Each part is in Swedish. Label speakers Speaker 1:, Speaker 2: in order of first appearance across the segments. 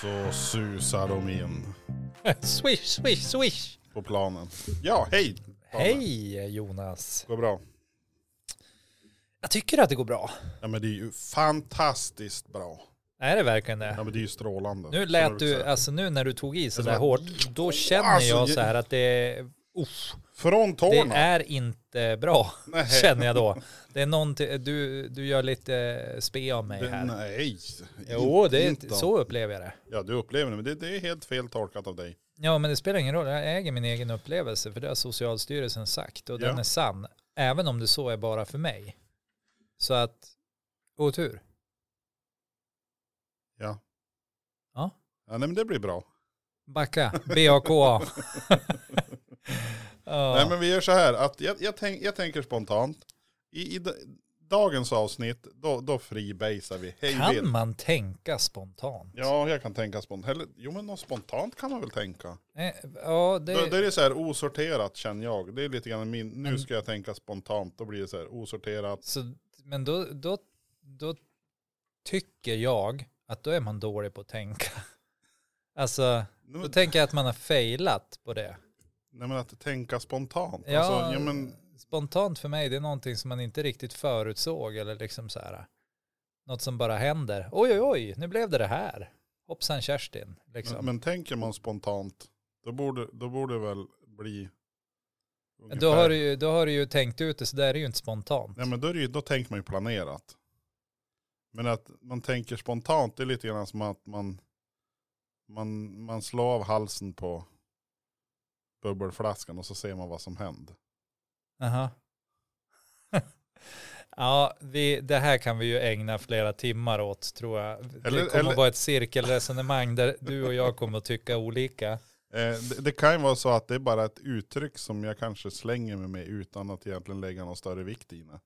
Speaker 1: Så susar de in
Speaker 2: swish, swish, swish.
Speaker 1: på planen. Ja, hej!
Speaker 2: Hej Jonas.
Speaker 1: Går bra?
Speaker 2: Jag tycker att det går bra.
Speaker 1: Ja men det är ju fantastiskt bra.
Speaker 2: Är det verkligen
Speaker 1: Ja
Speaker 2: det?
Speaker 1: men det är ju strålande.
Speaker 2: Nu
Speaker 1: Som jag
Speaker 2: lät
Speaker 1: brukar
Speaker 2: du,
Speaker 1: säga.
Speaker 2: alltså nu när du tog i så
Speaker 1: Det är
Speaker 2: där
Speaker 1: som
Speaker 2: hårt, då känner
Speaker 1: Alltså,
Speaker 2: jag
Speaker 1: det-
Speaker 2: så här att det, usch,
Speaker 1: Från
Speaker 2: det
Speaker 1: tårna.
Speaker 2: är inte bra,
Speaker 1: Nej.
Speaker 2: känner jag då. Det är någonting, du, du gör lite eh, spe av mig
Speaker 1: Det-
Speaker 2: här.
Speaker 1: Nej.
Speaker 2: Jo, det är
Speaker 1: Inte
Speaker 2: inte,
Speaker 1: om-
Speaker 2: så upplever jag det.
Speaker 1: Ja du upplever det, men det, det är helt fel tolkat av dig.
Speaker 2: Ja, men det spelar ingen roll. Jag äger min egen upplevelse, för det har Socialstyrelsen sagt och den
Speaker 1: Ja.
Speaker 2: är sann, även om det så är bara för mig. Så att, otur.
Speaker 1: Ja.
Speaker 2: Ja.
Speaker 1: Ja nej men det blir bra.
Speaker 2: Backa, BAKA.
Speaker 1: Nej
Speaker 2: ja.
Speaker 1: men vi gör så här att jag, jag, tänk, jag tänker spontant. I, i d- dagens avsnitt då, då freebasar vi hej vilt.
Speaker 2: Kan man tänka spontant?
Speaker 1: Ja, jag kan tänka spontant. Jo, men något spontant kan man väl tänka.
Speaker 2: Eh,
Speaker 1: Då,
Speaker 2: Ja,
Speaker 1: då
Speaker 2: det,
Speaker 1: är det så här osorterat känner jag. Det är lite grann min,
Speaker 2: Mm.
Speaker 1: nu ska jag tänka spontant. Då blir det så här osorterat.
Speaker 2: så, men då, då, då tycker jag att då är man dålig på att tänka. Alltså,
Speaker 1: Nej,
Speaker 2: då
Speaker 1: men-
Speaker 2: tänker jag att man har failat på det.
Speaker 1: Nej men att tänka spontant.
Speaker 2: Ja,
Speaker 1: Alltså, ja, men,
Speaker 2: Spontant för mig, det är någonting som man inte riktigt förutsåg eller liksom så här. Något som bara händer. Oj, oj, oj, nu blev det det här. Hoppsan Kerstin, liksom.
Speaker 1: men, men tänker man spontant, då borde, då borde det väl bli ungefär-
Speaker 2: då, har du, ju- då har du ju tänkt ut det, så där är ju inte spontant.
Speaker 1: Nej men då, är det, ju- då tänker man ju planerat. Men att man tänker spontant, det är lite grann som att man, man, man slår av halsen på bubbelflaskan och så ser man vad som händer.
Speaker 2: Aha. ja, vi, det här kan vi ju ägna flera timmar åt tror jag. Det
Speaker 1: Eller-
Speaker 2: kommer
Speaker 1: eller-
Speaker 2: vara ett cirkelresonemang där du och jag kommer att tycka olika.
Speaker 1: Eh, det, det kan ju vara så att det är bara ett uttryck som jag kanske slänger mig med utan att egentligen lägga någon större vikt i det.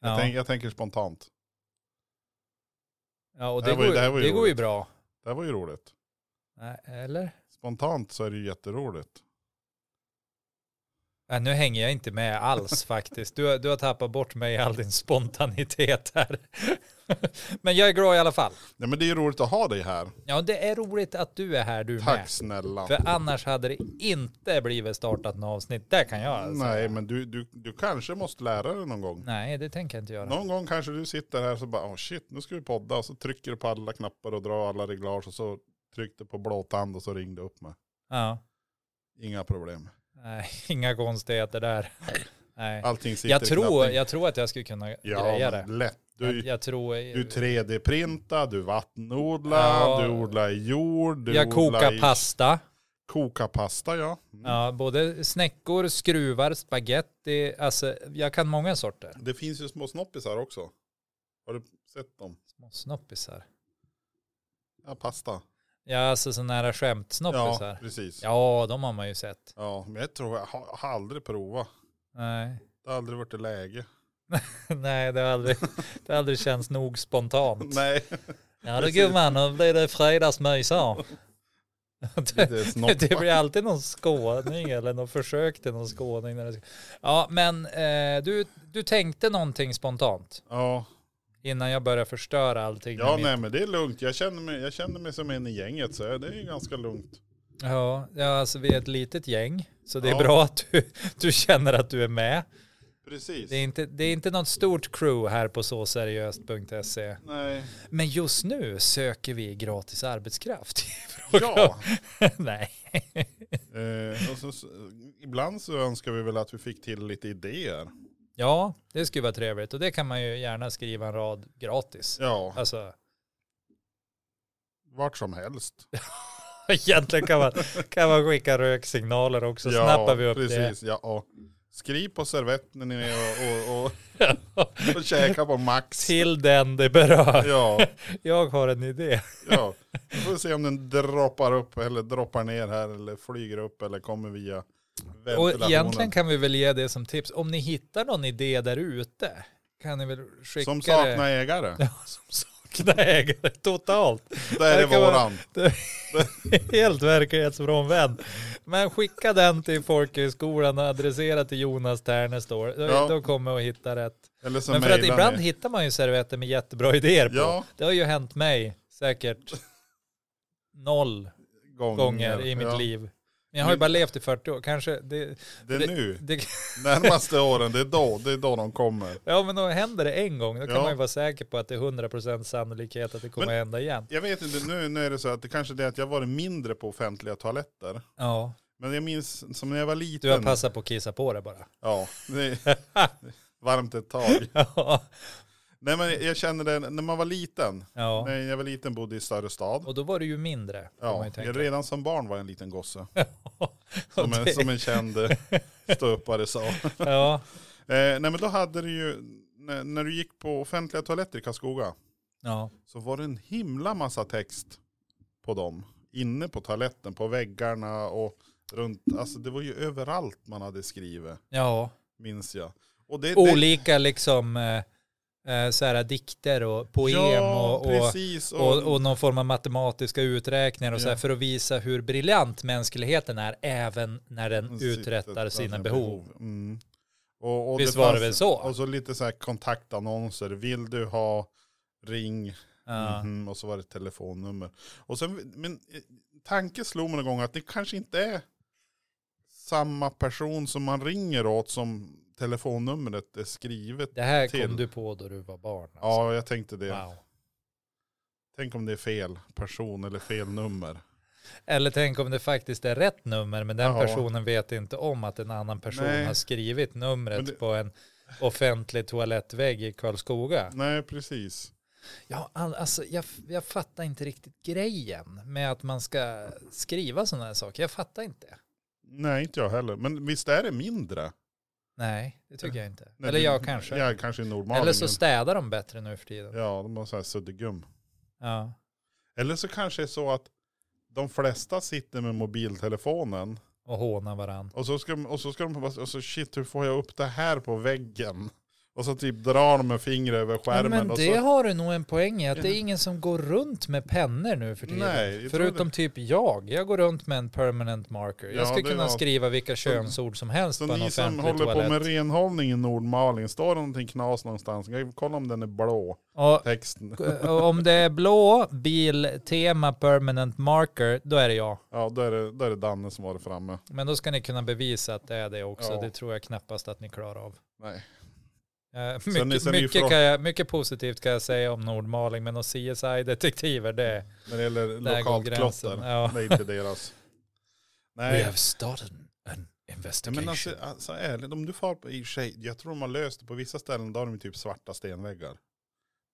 Speaker 1: Jag,
Speaker 2: Ja,
Speaker 1: tänk, jag tänker spontant.
Speaker 2: ja och
Speaker 1: Det
Speaker 2: det,
Speaker 1: här var ju-
Speaker 2: går,
Speaker 1: det här
Speaker 2: ju-
Speaker 1: var ju
Speaker 2: det går ju
Speaker 1: roligt.
Speaker 2: bra.
Speaker 1: Det här var ju roligt.
Speaker 2: Nej, eller?
Speaker 1: Spontant så är det ju jätteroligt.
Speaker 2: Nej, nu hänger jag inte med alls faktiskt. Du, har- du har tappat bort mig i all din spontanitet här. Men jag är glad i alla fall.
Speaker 1: Nej men det är ju roligt att ha dig här.
Speaker 2: Ja, det är roligt att du är här du
Speaker 1: Tack
Speaker 2: med.
Speaker 1: snälla.
Speaker 2: För annars hade det inte blivit startat något avsnitt. Det kan jag säga.
Speaker 1: Nej men du, du, du kanske måste lära dig någon gång.
Speaker 2: Nej, det tänker jag inte göra.
Speaker 1: Någon gång kanske du sitter här och så bara, oh shit, nu ska vi podda. Och så trycker du på alla knappar och drar alla reglage och så tryckte på blåtand och så ringde upp mig.
Speaker 2: Ja.
Speaker 1: Inga problem.
Speaker 2: Nej, inga konstigheter där. Nej.
Speaker 1: Allting sitter
Speaker 2: Jag
Speaker 1: i
Speaker 2: tror,
Speaker 1: knappen.
Speaker 2: jag tror att jag skulle kunna
Speaker 1: ja,
Speaker 2: greja
Speaker 1: men
Speaker 2: det.
Speaker 1: lätt.
Speaker 2: Jag,
Speaker 1: Du,
Speaker 2: jag tror...
Speaker 1: du 3D-printar, du vattenodlar,
Speaker 2: Ja.
Speaker 1: du odlar i jord. Du
Speaker 2: jag
Speaker 1: odlar
Speaker 2: kokar
Speaker 1: i-
Speaker 2: pasta.
Speaker 1: Kokar pasta, ja. Mm.
Speaker 2: Ja, både snäckor, skruvar, spaghetti. Alltså, jag kan många sorter.
Speaker 1: Det finns ju små snoppisar också. Har du sett dem?
Speaker 2: Små snoppisar.
Speaker 1: Ja, pasta.
Speaker 2: Ja, alltså sådana här
Speaker 1: Ja,
Speaker 2: skämtsnoppisar. Ja.
Speaker 1: precis. Ja.
Speaker 2: ja, de har man ju sett.
Speaker 1: men jag tror jag har, har aldrig provat.
Speaker 2: Nej,
Speaker 1: Det har aldrig varit i läge.
Speaker 2: Nej det, har aldrig, det har aldrig känts nog spontant.
Speaker 1: Nej.
Speaker 2: ja du
Speaker 1: precis.
Speaker 2: gumman, nu blir det fredagsmys här.
Speaker 1: Lite snopp.
Speaker 2: Det blir alltid någon skåning eller något försök till någon skåning. när det ska- Ja, men eh, du, du tänkte någonting spontant
Speaker 1: Ja,
Speaker 2: innan jag började förstöra allting.
Speaker 1: ja
Speaker 2: med
Speaker 1: nej men det är lugnt. Jag känner mig, jag känner mig som en i gänget så det är ju ganska lugnt.
Speaker 2: mitt- ja, ja, alltså vi är ett litet gäng, så det är
Speaker 1: Ja.
Speaker 2: bra att du, du känner att du är med.
Speaker 1: Precis.
Speaker 2: Det är, inte, det är inte något stort crew här på såseriöst.se.
Speaker 1: Nej.
Speaker 2: Men just nu söker vi gratis arbetskraft.
Speaker 1: Ja.
Speaker 2: Nej.
Speaker 1: Eh, och så, så, ibland så önskar vi väl att vi fick till lite idéer.
Speaker 2: Ja, det skulle vara trevligt och det kan man ju gärna skriva en rad gratis.
Speaker 1: Ja,
Speaker 2: Alltså,
Speaker 1: vart som helst.
Speaker 2: egentligen kan man, kan man skicka röksignaler också,
Speaker 1: ja,
Speaker 2: snappar vi upp
Speaker 1: precis. Ja, och skriv på servetten ni och, och, och,
Speaker 2: det.
Speaker 1: och käka på max.
Speaker 2: Till den det berör.
Speaker 1: Ja,
Speaker 2: Jag har en idé.
Speaker 1: ja. Vi får se om den droppar upp eller droppar ner här eller flyger upp eller kommer via
Speaker 2: Och
Speaker 1: ventilationen.
Speaker 2: egentligen kan vi väl ge det som tips. Om ni hittar någon idé där ute kan ni väl skicka
Speaker 1: som
Speaker 2: det.
Speaker 1: saknar ägare.
Speaker 2: Ja, som saknar ägare totalt.
Speaker 1: Där är
Speaker 2: Verkar vara-
Speaker 1: våran.
Speaker 2: Helt verklighetsfrånvänd. Men skicka den till folkhögskolan och adressera till Jonas Ternestor. Då,
Speaker 1: Ja.
Speaker 2: då kommer jag att hitta rätt.
Speaker 1: Eller så
Speaker 2: Men för att
Speaker 1: mejlar
Speaker 2: ibland
Speaker 1: ni.
Speaker 2: hittar man ju servetter med jättebra idéer på.
Speaker 1: Ja.
Speaker 2: Det har ju hänt mig säkert noll
Speaker 1: Gånger,
Speaker 2: gånger i mitt
Speaker 1: Ja.
Speaker 2: liv. Men jag har ju
Speaker 1: Men-
Speaker 2: bara levt i 40 år. Kanske det,
Speaker 1: Det är nu,
Speaker 2: det,
Speaker 1: närmaste åren, det är då, det är då de kommer.
Speaker 2: ja men då händer det en gång. Då kan
Speaker 1: Ja.
Speaker 2: man ju vara säker på att det är 100% sannolikhet att det kommer
Speaker 1: Men-
Speaker 2: att hända igen.
Speaker 1: Jag vet inte, nu, nu är det så att det kanske är det att jag har varit mindre på offentliga toaletter.
Speaker 2: Ja,
Speaker 1: Men jag minns som när jag var liten.
Speaker 2: du har passat på att kissa på det bara.
Speaker 1: Ja, det är varmt ett tag.
Speaker 2: Ja.
Speaker 1: Nej men jag känner det när man var liten.
Speaker 2: ja.
Speaker 1: När jag var liten bodde i större stad.
Speaker 2: Och då var du ju mindre. Kan man
Speaker 1: Ja,
Speaker 2: ju tänka.
Speaker 1: jag redan som barn var jag en liten gosse. Som en,
Speaker 2: det-
Speaker 1: som en känd eh, ståuppare sa.
Speaker 2: ja.
Speaker 1: Eh, nej men då hade du ju, när, när du gick på offentliga toaletter i Karlskoga
Speaker 2: ja.
Speaker 1: så var det en himla massa text på dem. Inne på toaletten, på väggarna och runt. Alltså det var ju överallt man hade skrivit,
Speaker 2: Ja.
Speaker 1: minns jag. Och det, det,
Speaker 2: Olika liksom eh, eh, så här, dikter och poem
Speaker 1: ja,
Speaker 2: och, och,
Speaker 1: precis. Och,
Speaker 2: och, och någon form av matematiska uträkningar och så här,
Speaker 1: Ja.
Speaker 2: för att visa hur briljant mänskligheten är även när den uträttar sina behov.
Speaker 1: alltså, Mm. Och, och
Speaker 2: Visst var det
Speaker 1: fanns-
Speaker 2: väl så?
Speaker 1: Och så lite så här kontaktannonser. Vill du ha, ring.
Speaker 2: Ja.
Speaker 1: Mhm, och så var det ett telefonnummer. Och sen, men eh, tanken slog mig någon gång att det kanske inte är samma person som man ringer åt som telefonnumret är skrivet.
Speaker 2: Det här kom
Speaker 1: Till.
Speaker 2: du på då du var barn. alltså.
Speaker 1: Ja, jag tänkte det.
Speaker 2: Wow.
Speaker 1: Tänk om det är fel person eller fel nummer.
Speaker 2: Eller tänk om det faktiskt är rätt nummer men den
Speaker 1: Ja.
Speaker 2: personen vet inte om att en annan person
Speaker 1: Nej.
Speaker 2: har skrivit numret
Speaker 1: Men det-
Speaker 2: på en offentlig toalettvägg i Karlskoga.
Speaker 1: Nej, precis.
Speaker 2: Ja, all, alltså, jag, jag fattar inte riktigt grejen med att man ska skriva sådana här saker. Jag fattar inte.
Speaker 1: Nej, inte jag heller. Men visst är det mindre?
Speaker 2: Nej, det tycker jag inte.
Speaker 1: Nej,
Speaker 2: Eller
Speaker 1: det-
Speaker 2: jag kanske.
Speaker 1: Ja, kanske normalt.
Speaker 2: Eller så städar de bättre nu för tiden.
Speaker 1: Ja, de har så här suddgum.
Speaker 2: Ja.
Speaker 1: Eller så kanske det är så att de flesta sitter med mobiltelefonen
Speaker 2: Och hånar varandra.
Speaker 1: Och så ska, och så ska de bara, och så shit hur får jag upp det här på väggen? Och så typ drar de med fingret över skärmen.
Speaker 2: men
Speaker 1: och
Speaker 2: det
Speaker 1: så,
Speaker 2: har du nog en poäng i, att det är ingen som går runt med pennor nu för tiden.
Speaker 1: Nej, jag tror
Speaker 2: Förutom typ jag. Jag går runt med en permanent marker.
Speaker 1: Ja,
Speaker 2: Jag skulle
Speaker 1: det
Speaker 2: kunna
Speaker 1: var-
Speaker 2: skriva vilka könsord som helst
Speaker 1: så
Speaker 2: på en
Speaker 1: ni som
Speaker 2: offentlig
Speaker 1: håller på med
Speaker 2: toalett.
Speaker 1: renhållning i Nordmaling, står det någonting knas någonstans? Kan jag kolla om den är blå,
Speaker 2: Och,
Speaker 1: texten.
Speaker 2: och om det är blå, bil, tema, permanent marker, då är det jag.
Speaker 1: Ja, då är det, då är det Danne som har det framme.
Speaker 2: Men då ska ni kunna bevisa att det är det också.
Speaker 1: Ja.
Speaker 2: Det tror jag knappast att ni klarar av.
Speaker 1: Nej.
Speaker 2: Eh,
Speaker 1: Sen är-
Speaker 2: Mycket,
Speaker 1: sen är ju
Speaker 2: mycket,
Speaker 1: frå-
Speaker 2: kan jag, mycket positivt kan jag säga om Nordmaling, men om CSI-detektiver, det,
Speaker 1: När det gäller
Speaker 2: där går
Speaker 1: lokalt klotter,
Speaker 2: gränsen. Ja.
Speaker 1: det är inte deras. Nej.
Speaker 2: started an
Speaker 1: Ja,
Speaker 2: investigation.
Speaker 1: men alltså, alltså ärligt, om du far på, i och för sig, jag tror de har löst det på vissa ställen, där har de ju typ svarta stenväggar.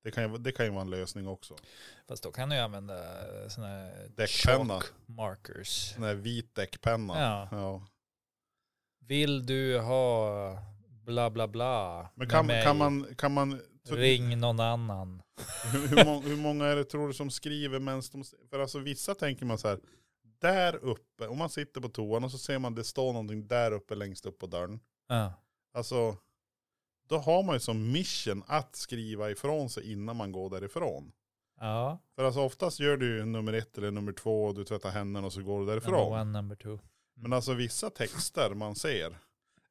Speaker 1: Det kan, ju, det kan ju vara en lösning också.
Speaker 2: Fast då kan du ju använda sådana här
Speaker 1: Däckpenna.
Speaker 2: chalk markers.
Speaker 1: Sån här vit däckpenna.
Speaker 2: Ja.
Speaker 1: Ja.
Speaker 2: Vill du ha bla bla bla
Speaker 1: Men
Speaker 2: med
Speaker 1: kan,
Speaker 2: mig?
Speaker 1: kan man, kan man så-
Speaker 2: Ring någon annan.
Speaker 1: Hur, hur, många, hur många är det tror du som skriver medan de, för alltså vissa tänker man så här, där uppe, om man sitter på toan och så ser man det står någonting där uppe längst upp på dörren.
Speaker 2: Ja.
Speaker 1: Alltså, då har man ju som mission att skriva ifrån sig innan man går därifrån.
Speaker 2: ja.
Speaker 1: För alltså oftast gör du ju nummer ett eller nummer två, du tvättar händerna och så går du
Speaker 2: Number
Speaker 1: därifrån.
Speaker 2: one, number two.
Speaker 1: Men alltså vissa texter man ser,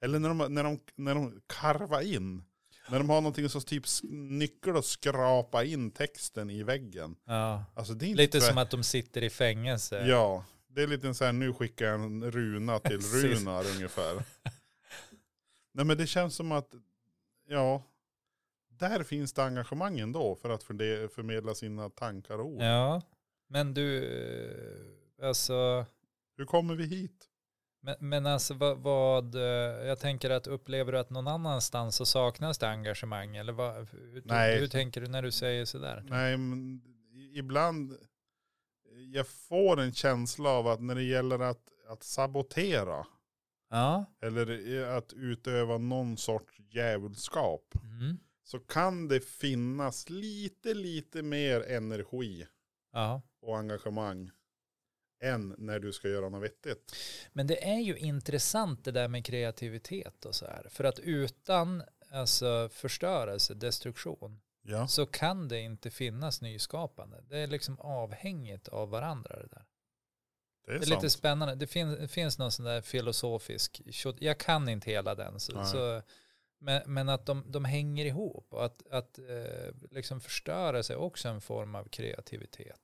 Speaker 1: eller när de, när de, när de karvar in, när de har någonting som typ s- nyckel och skrapa in texten i väggen.
Speaker 2: Ja.
Speaker 1: Alltså det är inte
Speaker 2: Lite
Speaker 1: tvär-
Speaker 2: som att eh, de sitter i fängelse.
Speaker 1: Ja, det är lite så här, nu skickar jag en runa till
Speaker 2: Precis.
Speaker 1: runar ungefär. Nej men det känns som att, ja, där finns det engagemang ändå för att förde- förmedla sina tankar och ord.
Speaker 2: Ja. Men du, eh, alltså,
Speaker 1: Hur kommer vi hit?
Speaker 2: men, men alltså vad, vad, eh, jag tänker att upplever du att någon annanstans så saknas det engagemang? Eller vad, hur,
Speaker 1: Nej.
Speaker 2: hur tänker du när du säger sådär?
Speaker 1: Nej, men i- ibland, eh, jag får en känsla av att när det gäller att, att sabotera,
Speaker 2: Ja.
Speaker 1: eller i- att utöva någon sorts djävulskap,
Speaker 2: Mm.
Speaker 1: så kan det finnas lite, lite mer energi
Speaker 2: Ja.
Speaker 1: och engagemang än när du ska göra något vettigt.
Speaker 2: Men det är ju intressant det där med kreativitet och så här. För att utan alltså, förstörelse, destruktion,
Speaker 1: Ja.
Speaker 2: så kan det inte finnas nyskapande. Det är liksom avhängigt av varandra det där.
Speaker 1: Det är,
Speaker 2: Det är
Speaker 1: sant.
Speaker 2: lite spännande. Det, fin det finns någon sån där filosofisk, tjo- jag kan inte hela den. Så,
Speaker 1: Nej.
Speaker 2: så, Men, men att de, de hänger ihop och att, att eh, liksom förstörelse är också en form av kreativitet.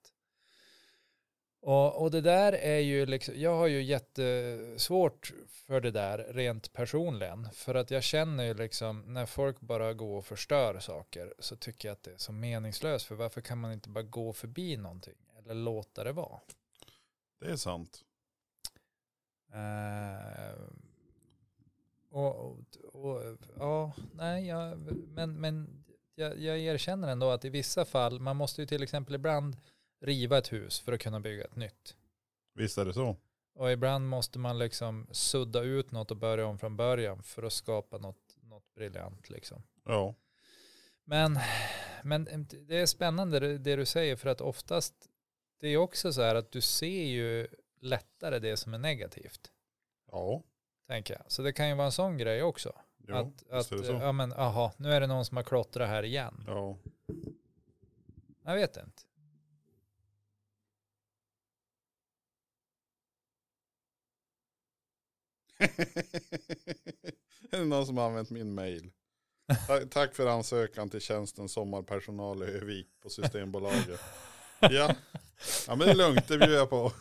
Speaker 2: Och, och det där är ju liksom, jag har ju jättesvårt för det där rent personligen. För att jag känner ju liksom, när folk bara går och förstör saker så tycker jag att det är så meningslöst. För varför kan man inte bara gå förbi någonting? Eller låta det vara?
Speaker 1: Det är sant.
Speaker 2: Eh, och, och, och, ja, nej, jag, men, men jag, jag erkänner ändå att i vissa fall, man måste ju till exempel ibland riva ett hus för att kunna bygga ett nytt.
Speaker 1: Visst är det så.
Speaker 2: Och ibland måste man liksom sudda ut något och börja om från början för att skapa något, något briljant liksom.
Speaker 1: Ja.
Speaker 2: Men, men det är spännande det, det du säger för att oftast det är också så här att du ser ju lättare det som är negativt.
Speaker 1: Ja.
Speaker 2: Tänker jag. Så det kan ju vara en sån grej också.
Speaker 1: Jo,
Speaker 2: att
Speaker 1: visst
Speaker 2: att
Speaker 1: är det så.
Speaker 2: ja, men, aha, nu är det någon som har klottrat här igen.
Speaker 1: Ja.
Speaker 2: Jag vet inte.
Speaker 1: är det någon som har använt min mail? Ta- Tack för ansökan till tjänsten sommarpersonal i Övik på Systembolaget. Ja. ja, men det är lugnt, det bjuder jag på.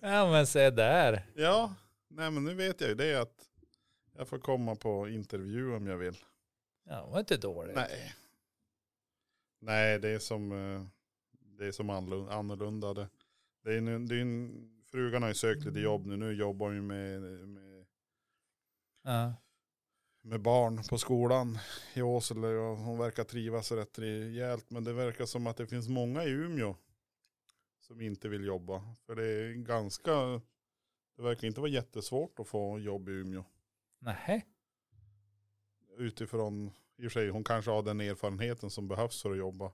Speaker 2: Ja men se där.
Speaker 1: Ja, nej men nu vet jag ju det att jag får komma på intervju om jag vill.
Speaker 2: Ja, det var inte dåligt.
Speaker 1: Nej. Nej, det är som, eh, det är som anlo- annorlunda. Det, det är nu, det är en, frugan har ju sökt lite jobb nu. Nu jobbar hon ju med, med,
Speaker 2: Ja.
Speaker 1: med barn på skolan i Åsele. och Hon verkar trivas rätt rejält. Men det verkar som att det finns många i Umeå som inte vill jobba. För det är ganska, det verkar inte vara jättesvårt att få jobb i Umeå.
Speaker 2: Nej.
Speaker 1: utifrån, i och för sig, hon kanske har den erfarenheten som behövs för att jobba.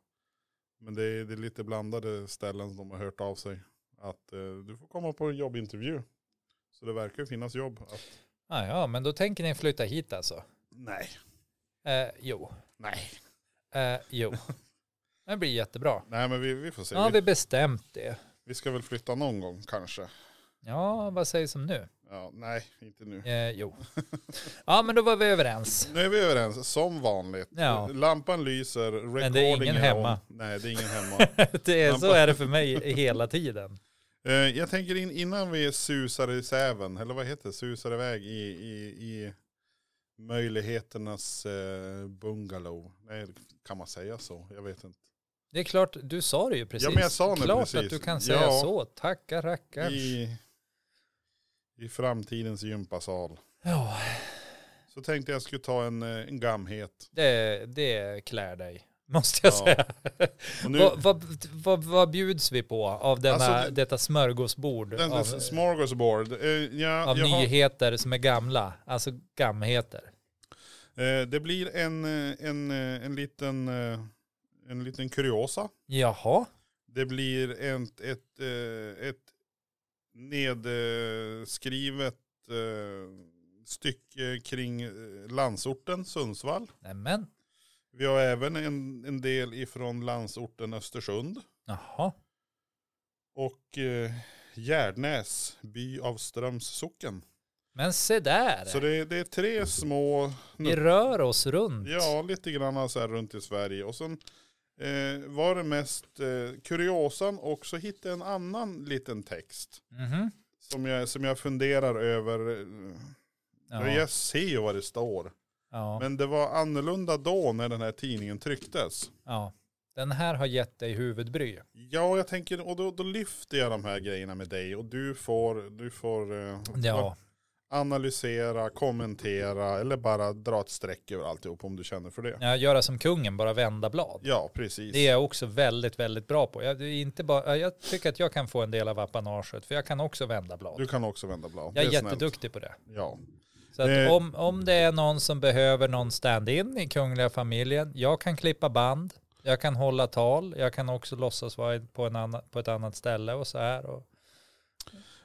Speaker 1: Men det är, det är lite blandade ställen som de har hört av sig. Att eh, du får komma på en jobbintervju. Så det verkar ju finnas jobb. Att,
Speaker 2: Ja, ja, men då tänker ni flytta hit alltså?
Speaker 1: nej,
Speaker 2: Eh, jo.
Speaker 1: nej.
Speaker 2: Eh, jo. Det blir jättebra.
Speaker 1: Nej men vi, vi får se.
Speaker 2: Nu har
Speaker 1: vi,
Speaker 2: vi bestämt det.
Speaker 1: vi ska väl flytta någon gång kanske.
Speaker 2: Ja, vad sägs om nu?
Speaker 1: Ja, nej, inte nu.
Speaker 2: Eh, jo. Ja, men då var vi överens.
Speaker 1: Nu är vi överens, som vanligt.
Speaker 2: Ja.
Speaker 1: Lampan lyser, recording
Speaker 2: det är ingen
Speaker 1: on.
Speaker 2: hemma.
Speaker 1: Nej, det är ingen hemma.
Speaker 2: Det är, så är det för mig hela tiden.
Speaker 1: Eh, jag tänker in, innan vi susar i säven, eller vad heter det, susar iväg i, i, i möjligheternas eh, bungalow. Nej, kan man säga så? Jag vet inte.
Speaker 2: Det är klart, du sa det ju precis.
Speaker 1: Ja, men jag sa det
Speaker 2: Klart
Speaker 1: precis.
Speaker 2: att du kan säga
Speaker 1: Ja.
Speaker 2: så. Tacka rackarns.
Speaker 1: I, I framtidens gympasal.
Speaker 2: Ja,
Speaker 1: Så tänkte jag skulle ta en, eh, en gamhet.
Speaker 2: det, det klär dig. Måste jag
Speaker 1: Ja.
Speaker 2: säga.
Speaker 1: Och nu,
Speaker 2: Vad, vad, vad, vad bjuds vi på av denna,
Speaker 1: Alltså, det-
Speaker 2: detta smörgåsbord?
Speaker 1: den,
Speaker 2: av,
Speaker 1: den smorgasbord. Eh, ja,
Speaker 2: av
Speaker 1: jag har,
Speaker 2: nyheter som är gamla. Alltså gamheter.
Speaker 1: eh, det blir en, eh, en, eh, en, liten, eh, en liten kuriosa.
Speaker 2: Jaha.
Speaker 1: Det blir ett, ett, eh, ett nedskrivet eh, stycke kring eh, landsorten Sundsvall.
Speaker 2: Nämen.
Speaker 1: Vi har även en, en del ifrån landsorten Östersund.
Speaker 2: Jaha.
Speaker 1: Och eh, Gärdnäs, by av Ströms socken.
Speaker 2: Men se där.
Speaker 1: Så det, det är tre små,
Speaker 2: Vi rör oss runt.
Speaker 1: ja lite grann så här runt i Sverige. Och sen eh, var det mest eh, kuriosan och så hittade jag en annan liten text.
Speaker 2: Mhm.
Speaker 1: Som jag, som jag funderar över. Eh,
Speaker 2: Ja.
Speaker 1: Jag ser ju vad det står.
Speaker 2: Ja.
Speaker 1: Men det var annorlunda då när den här tidningen trycktes.
Speaker 2: ja. Den här har gett dig huvudbry.
Speaker 1: Ja, jag tänker, och då, då lyfter jag de här grejerna med dig och du får, du får eh,
Speaker 2: Ja.
Speaker 1: analysera, kommentera eller bara dra ett streck över alltihop om du känner för det.
Speaker 2: ja. Göra som kungen, bara vända blad.
Speaker 1: Ja, precis.
Speaker 2: Det är jag också väldigt, väldigt bra på. Jag, det är inte bara, jag tycker att jag kan få en del av apanaget, för jag kan också vända blad.
Speaker 1: Du kan också vända blad.
Speaker 2: Jag är
Speaker 1: Det snällt.
Speaker 2: jätteduktig på det.
Speaker 1: Ja.
Speaker 2: Så att
Speaker 1: Eh.
Speaker 2: om, om det är någon som behöver någon stand-in i Kungliga familjen, jag kan klippa band, jag kan hålla tal, jag kan också låtsas vara på, en annan, på ett annat ställe och så här. Och,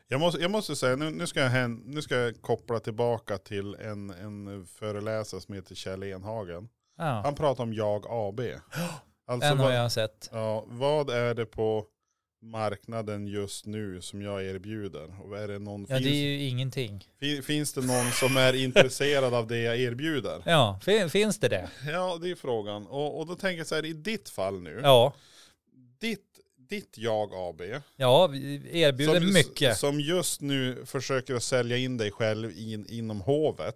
Speaker 1: Jag måste, jag måste säga, nu, nu, ska jag hän, nu ska jag koppla tillbaka till en, en föreläsare som heter Kjell Enhagen.
Speaker 2: ja,
Speaker 1: Han pratar om jag AB. Alltså
Speaker 2: den har
Speaker 1: vad,
Speaker 2: jag sett.
Speaker 1: ja, vad är det på marknaden just nu som jag erbjuder? Och är det någon,
Speaker 2: Ja, det
Speaker 1: finns,
Speaker 2: är ju ingenting.
Speaker 1: fi- finns det någon som är intresserad av det jag erbjuder?
Speaker 2: Ja, fin- finns det det?
Speaker 1: Ja, det är frågan. Och, och då tänker jag så här, i ditt fall nu,
Speaker 2: Ja,
Speaker 1: ditt, ditt jag AB,
Speaker 2: ja vi erbjuder mycket.
Speaker 1: som just nu försöker att sälja in dig själv in, inom hovet.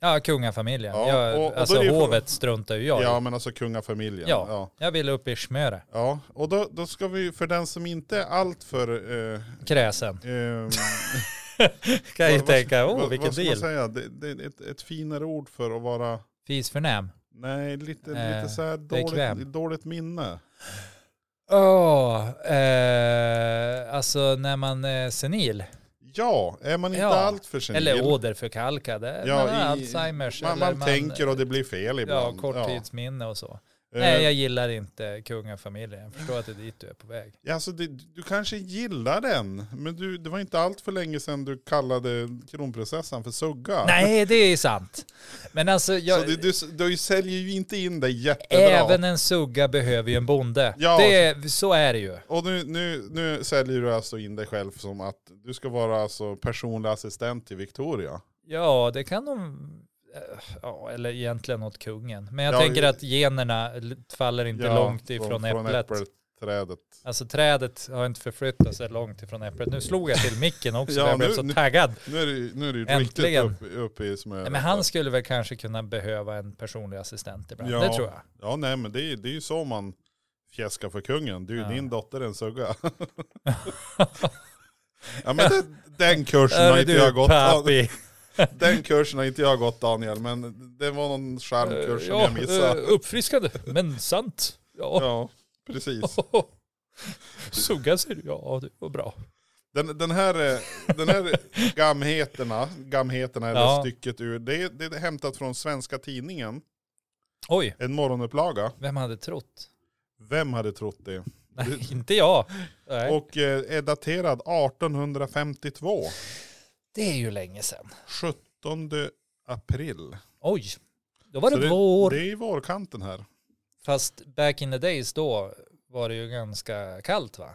Speaker 2: Ja, kungafamiljen.
Speaker 1: Ja,
Speaker 2: jag,
Speaker 1: och- och då
Speaker 2: alltså
Speaker 1: är det ju-
Speaker 2: hovet struntar ju jag i.
Speaker 1: Ja, men alltså kungafamiljen.
Speaker 2: Ja.
Speaker 1: ja.
Speaker 2: Jag vill upp i Smöre.
Speaker 1: Ja, och då, då ska vi, för den som inte är alltför... Eh,
Speaker 2: Kräsen.
Speaker 1: ehm,
Speaker 2: Kan jag ju
Speaker 1: vad- vad-
Speaker 2: tänka, åh
Speaker 1: vad-
Speaker 2: vilken
Speaker 1: vad ska man
Speaker 2: deal.
Speaker 1: säga? Det, det är ett, ett finare ord för att vara...
Speaker 2: Fisförnäm.
Speaker 1: Nej, lite,
Speaker 2: Eh,
Speaker 1: lite så här
Speaker 2: bekväm.
Speaker 1: dåligt, dåligt minne.
Speaker 2: Åh, eh, alltså när man är senil.
Speaker 1: Ja, är man inte
Speaker 2: Ja,
Speaker 1: alltför senil.
Speaker 2: Eller åderförkalkad.
Speaker 1: Ja,
Speaker 2: Ja,
Speaker 1: i-
Speaker 2: Alzheimers.
Speaker 1: man,
Speaker 2: eller
Speaker 1: man tänker och det blir fel
Speaker 2: Ja,
Speaker 1: ibland.
Speaker 2: korttidsminne och så.
Speaker 1: Eh,
Speaker 2: Nej, jag gillar inte kungafamiljen. Jag förstår att det är dit du är på väg.
Speaker 1: ja, alltså det, du kanske gillar den, men du, det var inte allt för länge sedan du kallade kronprinsessan för sugga.
Speaker 2: Nej, det är sant. Men alltså,
Speaker 1: Så
Speaker 2: jag,
Speaker 1: du, du, du säljer ju inte in dig jättebra.
Speaker 2: även en sugga behöver ju en bonde.
Speaker 1: Ja.
Speaker 2: Det är, så är det ju.
Speaker 1: Och nu, nu, nu säljer du alltså in dig själv som att du ska vara alltså personlig assistent till Victoria.
Speaker 2: Ja, det kan de... eh, Ja, eller egentligen åt kungen. Men jag
Speaker 1: Ja,
Speaker 2: tänker
Speaker 1: ju-
Speaker 2: att generna l- faller inte
Speaker 1: Ja,
Speaker 2: långt ifrån
Speaker 1: från
Speaker 2: äpplet.
Speaker 1: äppelträdet.
Speaker 2: Alltså trädet har inte förflyttat sig långt ifrån äpplet. Nu slog jag till micken också,
Speaker 1: Ja,
Speaker 2: för jag blev
Speaker 1: nu-
Speaker 2: så
Speaker 1: nu-
Speaker 2: taggad.
Speaker 1: Nu är det ju- nu är det ju
Speaker 2: Äntligen.
Speaker 1: riktigt uppe upp i smöret.
Speaker 2: Nej, men han skulle väl kanske kunna behöva en personlig assistent ibland.
Speaker 1: Ja.
Speaker 2: Det tror jag.
Speaker 1: Ja nej men det är, det är ju så man fjäskar för kungen. Du,
Speaker 2: Ja.
Speaker 1: din dotter är en sugga. ja men det, den kursen har
Speaker 2: Hörru
Speaker 1: inte jag
Speaker 2: du,
Speaker 1: gått. Dan-
Speaker 2: pappi.
Speaker 1: Den kursen har inte jag gått Daniel. Men det var någon charmkurs som
Speaker 2: Eh,
Speaker 1: jag missade.
Speaker 2: eh, Uppfriskande, men sant. Ja.
Speaker 1: Ja precis.
Speaker 2: Sugga ser du, ja det var bra.
Speaker 1: Den, den här, eh, den här gamheterna, gamheterna eller
Speaker 2: Ja.
Speaker 1: stycket ur, det är, det är hämtat från svenska tidningen,
Speaker 2: Oj,
Speaker 1: en morgonupplaga.
Speaker 2: vem hade trott?
Speaker 1: Vem hade trott det?
Speaker 2: Nej, inte jag. Nej.
Speaker 1: Och eh, är daterad 1852,
Speaker 2: det är ju länge sedan.
Speaker 1: 17 april.
Speaker 2: Oj, då var
Speaker 1: Så
Speaker 2: det, vår.
Speaker 1: Det är i vårkanten här.
Speaker 2: Fast back in the days då var det ju ganska kallt va?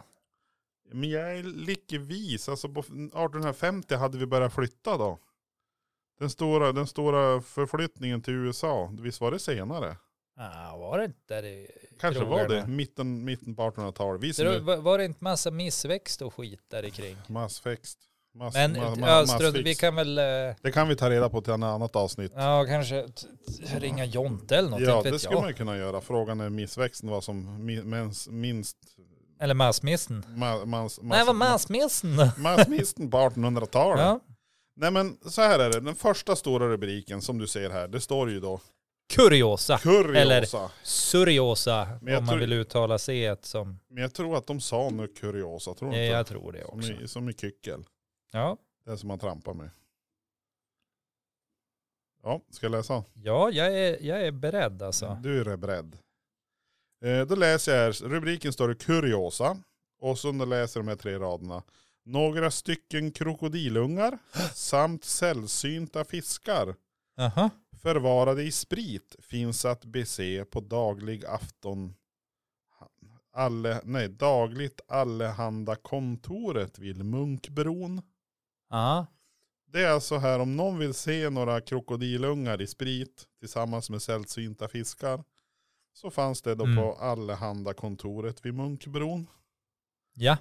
Speaker 1: Men jag är lika vis, alltså på 1850 hade vi börjat flytta då. Den stora, den stora förflyttningen till USA, visst var det senare?
Speaker 2: Ah, var det inte där i
Speaker 1: Kanske var det,
Speaker 2: krogarna?
Speaker 1: mitten, mitten på 1800-talet. Vi som
Speaker 2: Så
Speaker 1: är-
Speaker 2: då, var, var det inte massa missväxt och skit där i kring?
Speaker 1: Massfäxt. Mass,
Speaker 2: Men
Speaker 1: Alltså, ma- ma-
Speaker 2: ja, strunt,
Speaker 1: massfix.
Speaker 2: vi kan väl, eh,
Speaker 1: Det kan vi ta reda på till ett annat avsnitt.
Speaker 2: ja kanske t- t- ringa Jonte eller något,
Speaker 1: ja,
Speaker 2: inte
Speaker 1: det
Speaker 2: vet
Speaker 1: skulle
Speaker 2: jag.
Speaker 1: man ju kunna göra. Frågan är missväxten vad som mi- mens, minst...
Speaker 2: Eller massmissen.
Speaker 1: Ma, mans,
Speaker 2: Nej, vad massmissen?
Speaker 1: Massmisten på 1800-talet.
Speaker 2: Ja.
Speaker 1: Nej men så här är det, den första stora rubriken som du ser här, det står ju då
Speaker 2: Kuriosa.
Speaker 1: kuriosa.
Speaker 2: Eller- Suriosa,
Speaker 1: Men jag
Speaker 2: om man
Speaker 1: tror-
Speaker 2: vill uttala c et som...
Speaker 1: Men jag tror att de sa nu kuriosa, tror du
Speaker 2: Ja,
Speaker 1: inte?
Speaker 2: jag tror det också.
Speaker 1: Som i, som i kyckel,
Speaker 2: Ja,
Speaker 1: det som man trampar med. Ja, ska jag läsa?
Speaker 2: ja jag, är, jag är beredd alltså.
Speaker 1: Du är beredd. Eh, då läser jag här, rubriken står det kuriosa. Och så under läser de här tre raderna. Några stycken krokodilungar samt sällsynta fiskar
Speaker 2: Aha.
Speaker 1: förvarade i sprit finns att bese på daglig afton. Alle, nej, dagligt allehanda kontoret vid Munkbron.
Speaker 2: Ja.
Speaker 1: Det är alltså här om någon vill se några krokodilungar i sprit tillsammans med sällsynta fiskar. Så fanns det då
Speaker 2: Mm.
Speaker 1: på allehanda kontoret vid Munkbron.
Speaker 2: ja.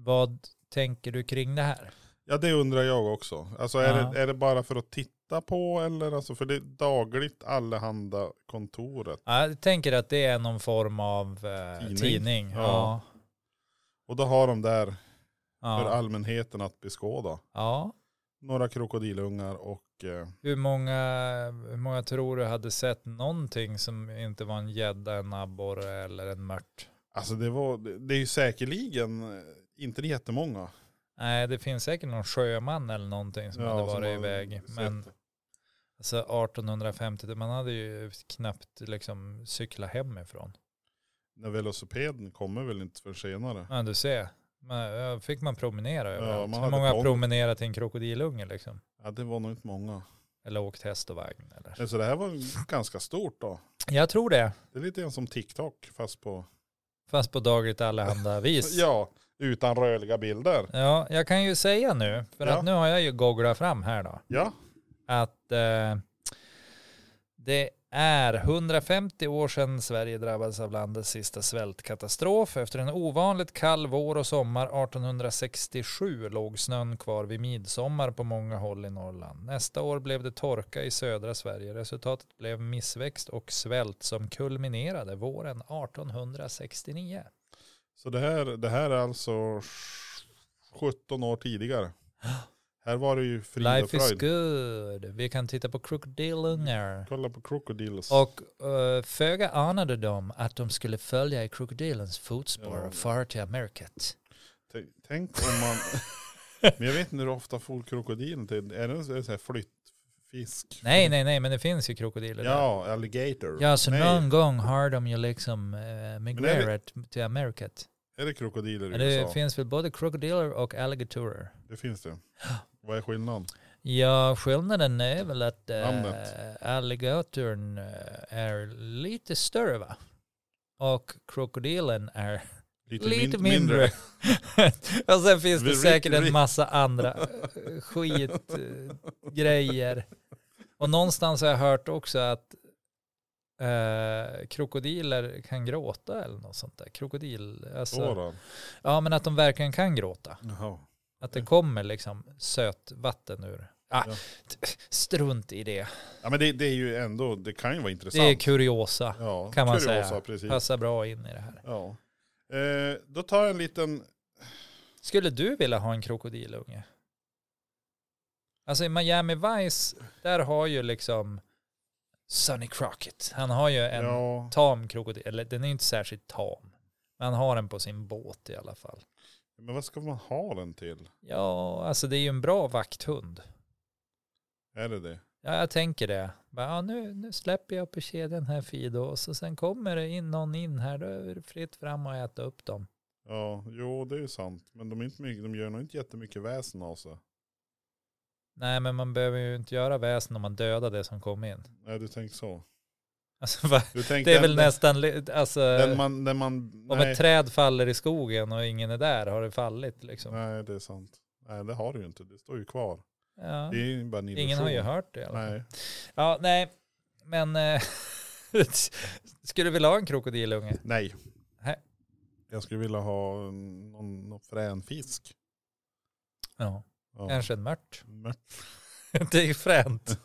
Speaker 2: Vad tänker du kring det här?
Speaker 1: Ja det undrar jag också. Alltså är,
Speaker 2: Ja.
Speaker 1: det, är det bara för att titta på eller alltså för det är dagligt allehanda kontoret.
Speaker 2: Ja, jag tänker att det är någon form av eh,
Speaker 1: Tidning.
Speaker 2: tidning.
Speaker 1: Ja.
Speaker 2: Ja.
Speaker 1: Och då har de där för
Speaker 2: Ja.
Speaker 1: allmänheten att beskåda.
Speaker 2: ja.
Speaker 1: Några krokodilungar och eh,
Speaker 2: Hur, många, hur många tror du hade sett någonting som inte var en gädda, en abborre eller en mört?
Speaker 1: alltså det var, det det är ju säkerligen eh, inte jättemånga.
Speaker 2: Nej, det finns säkert någon sjöman eller någonting som hade
Speaker 1: som
Speaker 2: varit
Speaker 1: har
Speaker 2: iväg.
Speaker 1: sett
Speaker 2: Men
Speaker 1: det.
Speaker 2: Alltså 1850, man hade ju knappt liksom cykla hemifrån.
Speaker 1: När velocipeden kommer väl inte för senare.
Speaker 2: Ja, du ser. Man, ja, fick man promenera överallt.
Speaker 1: man
Speaker 2: Hur
Speaker 1: hade
Speaker 2: många har
Speaker 1: pong.
Speaker 2: promenerat till en krokodilunge liksom?
Speaker 1: Ja, det var nog inte många.
Speaker 2: Eller åkt häst och vagn eller?
Speaker 1: Så det här var ganska stort då.
Speaker 2: Jag tror det.
Speaker 1: Det är lite grann som TikTok fast på...
Speaker 2: Fast på dagligt allehanda vis.
Speaker 1: Ja, utan rörliga bilder.
Speaker 2: Ja, jag kan ju säga nu, för
Speaker 1: Ja.
Speaker 2: att nu har jag ju googlat fram här då,
Speaker 1: Ja,
Speaker 2: att eh, det är 150 år sedan Sverige drabbades av landets sista svältkatastrof. Efter en ovanligt kall vår och sommar 1867 låg snön kvar vid midsommar på många håll i Norrland. Nästa år blev det torka i södra Sverige. Resultatet blev missväxt och svält som kulminerade våren 1869.
Speaker 1: så det här, det här är alltså 17 år tidigare. Här var det ju frid och
Speaker 2: Life is
Speaker 1: fröjd.
Speaker 2: good. Vi kan titta på krokodilungar.
Speaker 1: Kolla på Crocodiles.
Speaker 2: Och uh, föga anade de att de skulle följa i krokodilens fotspår
Speaker 1: Ja.
Speaker 2: och fara till Amerikat.
Speaker 1: Tänk- Tänk om man... Men jag vet inte hur ofta får krokodilen till. Är det en sån här flyttfisk?
Speaker 2: Nej, nej, nej, men det finns ju krokodiler där.
Speaker 1: Ja, alligator.
Speaker 2: Ja, så
Speaker 1: Nej,
Speaker 2: någon gång har de ju liksom uh,
Speaker 1: det-
Speaker 2: migrerat till Amerikat.
Speaker 1: Är det krokodiler i
Speaker 2: Men
Speaker 1: USA?
Speaker 2: Det finns väl både krokodiler och alligatorer.
Speaker 1: det finns det. Vad är skillnaden?
Speaker 2: Ja, skillnaden är väl att uh,
Speaker 1: Namnet.
Speaker 2: alligatorn eh, är lite större va? Och krokodilen är Lite
Speaker 1: min-
Speaker 2: mindre. och sen finns det
Speaker 1: Rik-
Speaker 2: säkert en
Speaker 1: rik-
Speaker 2: massa andra eh, skitgrejer. Och någonstans har jag hört också att eh, krokodiler kan gråta eller något sånt där. Krokodil,
Speaker 1: Så
Speaker 2: alltså,
Speaker 1: då.
Speaker 2: ja men att de verkligen kan gråta.
Speaker 1: Jaha.
Speaker 2: Att det kommer liksom söt vatten ur. Ah,
Speaker 1: Ja.
Speaker 2: t- Strunt i det.
Speaker 1: Ja men det, det är ju ändå, det kan ju vara
Speaker 2: Det
Speaker 1: intressant.
Speaker 2: är kuriosa.
Speaker 1: ja,
Speaker 2: kan man
Speaker 1: kuriosa,
Speaker 2: säga.
Speaker 1: Precis.
Speaker 2: Passar bra in i det här.
Speaker 1: Ja. Eh, då tar jag en liten,
Speaker 2: Skulle du vilja ha en krokodilunge? Alltså i Miami Vice, där har ju liksom Sonny Crockett. Han har ju en
Speaker 1: ja,
Speaker 2: tam krokodil, eller den är inte särskilt tam. Men han har den på sin båt i alla fall.
Speaker 1: men vad ska man ha den till?
Speaker 2: Ja, alltså det är ju en bra vakthund.
Speaker 1: Är det det?
Speaker 2: Ja, jag tänker det. Bara, Ja, nu, nu släpper jag på kedjan här Fido och så sen kommer det in någon in här, då är det fritt fram och äta upp dem.
Speaker 1: Ja, jo det är ju sant. Men de, är inte mycket, de gör nog inte jättemycket väsen av sig.
Speaker 2: Nej, men man behöver ju inte göra väsen om man dödar det som kom in.
Speaker 1: Nej du tänker så.
Speaker 2: Alltså, va?
Speaker 1: Du tänker
Speaker 2: Det är
Speaker 1: den-
Speaker 2: väl nästan, li- alltså,
Speaker 1: Den man, den man,
Speaker 2: om
Speaker 1: nej,
Speaker 2: ett träd faller i skogen och ingen är där har det fallit liksom.
Speaker 1: nej det är sant. Nej det har du ju inte, det står ju kvar.
Speaker 2: Ja.
Speaker 1: Det är ju bara en illusion.
Speaker 2: Ingen har ju hört det. i alla fall.
Speaker 1: Nej.
Speaker 2: Ja, nej. Men eh, skulle du vilja ha en krokodilunge?
Speaker 1: nej.
Speaker 2: Nej.
Speaker 1: Jag skulle vilja ha en- någon, någon frän fisk.
Speaker 2: Ja,
Speaker 1: Ja.
Speaker 2: kanske en mört.
Speaker 1: Men
Speaker 2: det är ju fränt.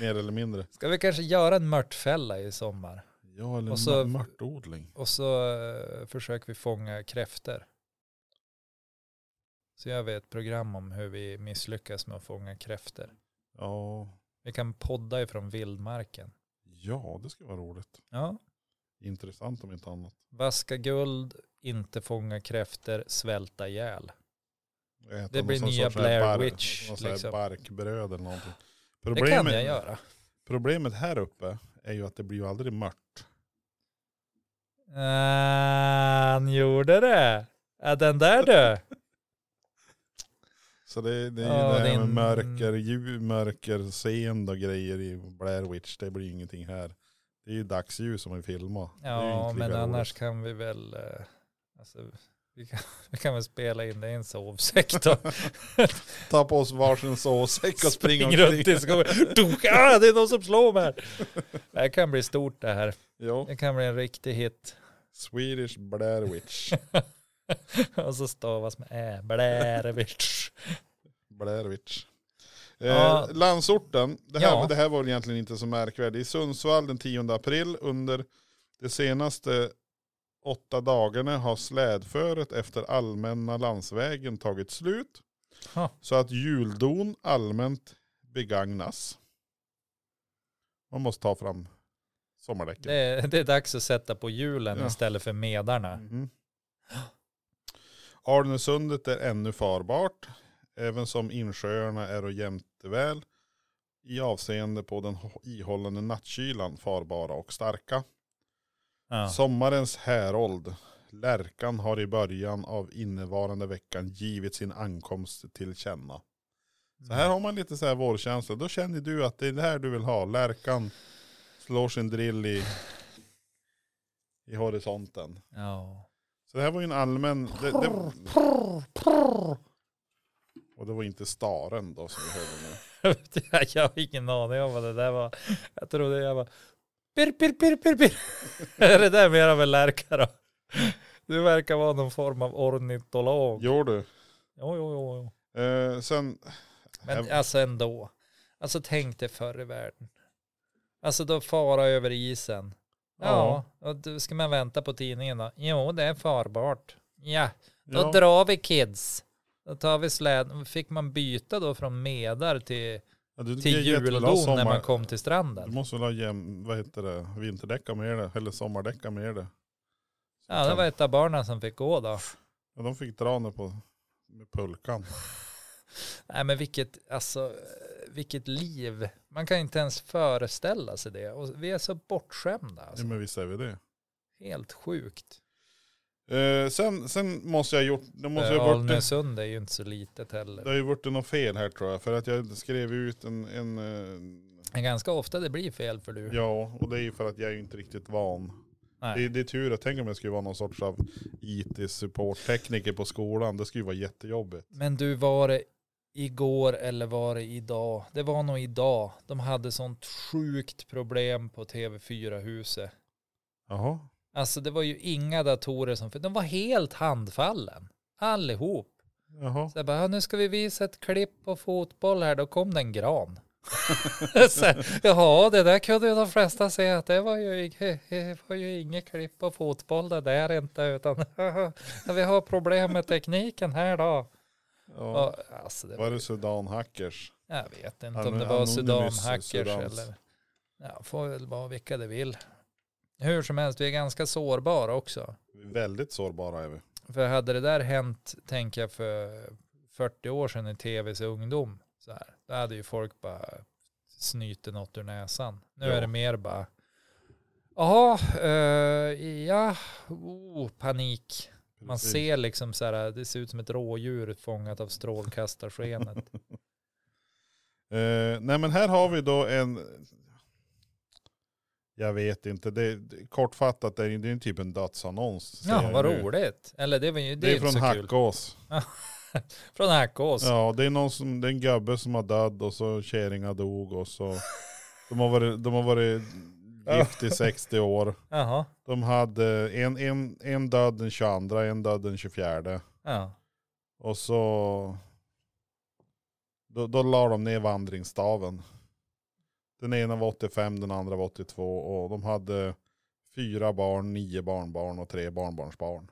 Speaker 1: Mer eller mindre.
Speaker 2: Ska vi kanske göra en mörtfälla i sommar?
Speaker 1: Ja, eller
Speaker 2: Och så-
Speaker 1: mör- mörtodling.
Speaker 2: Och så eh, försöker vi fånga kräfter. Så gör vi ett program om hur vi misslyckas med att fånga kräfter.
Speaker 1: Ja.
Speaker 2: Vi kan podda ifrån vildmarken.
Speaker 1: ja, det skulle vara roligt.
Speaker 2: Ja.
Speaker 1: Intressant om inte annat.
Speaker 2: Vaska guld, inte fånga kräfter, svälta ihjäl.
Speaker 1: Äta
Speaker 2: Det
Speaker 1: någon
Speaker 2: blir
Speaker 1: sån
Speaker 2: nya
Speaker 1: sorts här
Speaker 2: Blair
Speaker 1: bark-
Speaker 2: Witch,
Speaker 1: Någon sån här
Speaker 2: liksom.
Speaker 1: barkbröd eller någonting.
Speaker 2: Det
Speaker 1: Problemet,
Speaker 2: kan jag göra.
Speaker 1: problemet här uppe är ju att det blir ju aldrig mört.
Speaker 2: Ah, Han gjorde det. Ja, den där du.
Speaker 1: Så det, det är ju
Speaker 2: Ja,
Speaker 1: det här
Speaker 2: det är
Speaker 1: med
Speaker 2: en-
Speaker 1: mörker, ljus, mörker, seende och grejer i Blair Witch. Det blir ju ingenting här. Det är ju dagsljus som vi filmar. Det är ju
Speaker 2: Ja,
Speaker 1: inte
Speaker 2: men
Speaker 1: lika
Speaker 2: annars
Speaker 1: roligt.
Speaker 2: kan vi väl... eh, Alltså, vi, kan, vi kan väl spela in det i en sovsäck då.
Speaker 1: Ta på oss varsin sovsäck och springa
Speaker 2: Spring runt i skogen. Dunk, ah, det är någon som slår mig. här. Det här kan bli stort det här.
Speaker 1: Ja,
Speaker 2: Det kan bli en riktig hit.
Speaker 1: Swedish Blair Witch.
Speaker 2: Och så stavas med ä, blärvitsch.
Speaker 1: Blair Witch. Eh,
Speaker 2: Ja.
Speaker 1: Landsorten, det här,
Speaker 2: Ja.
Speaker 1: det här var väl egentligen inte så märkvärdigt. I Sundsvall den 10 april under de senaste åtta dagarna har slädföret efter allmänna landsvägen tagit slut.
Speaker 2: Ha.
Speaker 1: Så att juldon allmänt begagnas. Man måste ta fram sommardäcken.
Speaker 2: Det, är- det är dags att sätta på hjulen
Speaker 1: Ja.
Speaker 2: istället för medarna.
Speaker 1: Mhm. Arnesundet är ännu farbart, även som insjöarna är och jämteväl i avseende på den h- ihållande nattkylan farbara och starka.
Speaker 2: Ja.
Speaker 1: Sommarens härold, Lärkan har i början av innevarande veckan givit sin ankomst till känna. Så här har man lite så här vårkänsla, då känner du att det är det här du vill ha. Lärkan slår sin drill i, i horisonten.
Speaker 2: Ja.
Speaker 1: Så det här var ju en allmän... Det, det, och det var inte staren då som vi hörde nu.
Speaker 2: jag har ingen aning om vad det där var. Jag trodde jag var pirr, pirr, pirr, pirr, pirr. Är det där mer av en lärka då? Du verkar vara någon form av ornitolog.
Speaker 1: Jo du.
Speaker 2: Jo, jo, jo. jo.
Speaker 1: Eh, sen,
Speaker 2: Men
Speaker 1: Jag-
Speaker 2: alltså ändå. Alltså tänk dig förr i världen. Alltså då fara över isen. Ja, och då ska man vänta på tidningen då? Jo, det är farbart. Ja, då
Speaker 1: ja,
Speaker 2: drar vi kids. Då tar vi släden. Fick man byta då från medar till,
Speaker 1: ja, du,
Speaker 2: till
Speaker 1: det är jättebra
Speaker 2: julbon när
Speaker 1: sommar- Mm.
Speaker 2: man kom till
Speaker 1: Du
Speaker 2: stranden?
Speaker 1: måste väl ha jäm, vad heter det, vinterdäckar med det, eller sommardäckar med det.
Speaker 2: Ja, det var ett av barnen som fick gå då.
Speaker 1: Ja, de fick dra nu på med pulkan.
Speaker 2: Nej men vilket, alltså, eh, vilket liv. Man kan inte ens föreställa sig det. Och vi är så bortskämda. Alltså.
Speaker 1: Ja, men visst är vi det. Mm.
Speaker 2: Helt sjukt.
Speaker 1: Eh, sen, sen måste jag ha gjort, det måste jag ha varit en,
Speaker 2: Eh, Alnösund är ju inte så litet
Speaker 1: det
Speaker 2: heller.
Speaker 1: har ju varit något fel här tror jag. För att jag skrev ut en, en eh,
Speaker 2: Men ganska ofta det blir fel för du.
Speaker 1: ja och det är ju för att jag är ju inte riktigt van.
Speaker 2: Nej.
Speaker 1: Det, det är tur, jag tänker om jag skulle vara någon sorts av IT-supporttekniker på skolan. Det skulle ju vara jättejobbigt.
Speaker 2: Men du, var det igår eller var det idag? Det var nog idag. De hade sånt sjukt problem på TV4-huset.
Speaker 1: Jaha.
Speaker 2: Alltså det var ju inga datorer som, de var helt handfallen. Allihop.
Speaker 1: Jaha.
Speaker 2: Så jag bara, "Ja, nu ska vi visa ett klipp på fotboll här, då kom det en gran. så, här, Jaha, det där kunde ju de flesta se att det var ju, ing- det var ju inget klipp på fotboll det där inte, utan vi har problem med tekniken här då.
Speaker 1: Ja.
Speaker 2: Ja, alltså det
Speaker 1: Var det Sudan Hackers?
Speaker 2: jag vet inte
Speaker 1: Anon-
Speaker 2: om det var
Speaker 1: Anonymous
Speaker 2: Sudanhackers
Speaker 1: Sudans.
Speaker 2: eller... Ja, får väl vara vilka det vill. Hur som helst, vi är ganska sårbara också.
Speaker 1: Väldigt sårbara är vi.
Speaker 2: För hade det där hänt, tänker jag, för 40 år sedan i tvs ungdom, så här, då hade ju folk bara snyter något ur näsan. Nu
Speaker 1: Ja.
Speaker 2: är det mer bara, jaha, eh, ja, oh, panik. Man
Speaker 1: Precis.
Speaker 2: ser liksom så här, det ser ut som ett rådjur fångat av strålkastarskenet.
Speaker 1: Eh, nej men här har vi då en, jag vet inte, det, det, kortfattat det är det är en typ en dödsannons. ser
Speaker 2: ja,
Speaker 1: jag
Speaker 2: vad
Speaker 1: nu.
Speaker 2: roligt. Eller det, var ju,
Speaker 1: Det är,
Speaker 2: ju inte
Speaker 1: från
Speaker 2: så kul.
Speaker 1: Hackås.
Speaker 2: Från Hackås.
Speaker 1: Ja, det är någon som, det är en gubbe som har dött och så kärringar dog och så. De har varit, de har varit gift i 60 år.
Speaker 2: Jaha.
Speaker 1: De hade en, en, en död den 22, en död den 24.
Speaker 2: Ja.
Speaker 1: Och så då, då la de ner vandringsstaven. Den ena var 85, den andra var 82 och de hade fyra barn, nio barnbarn och tre barnbarnsbarn.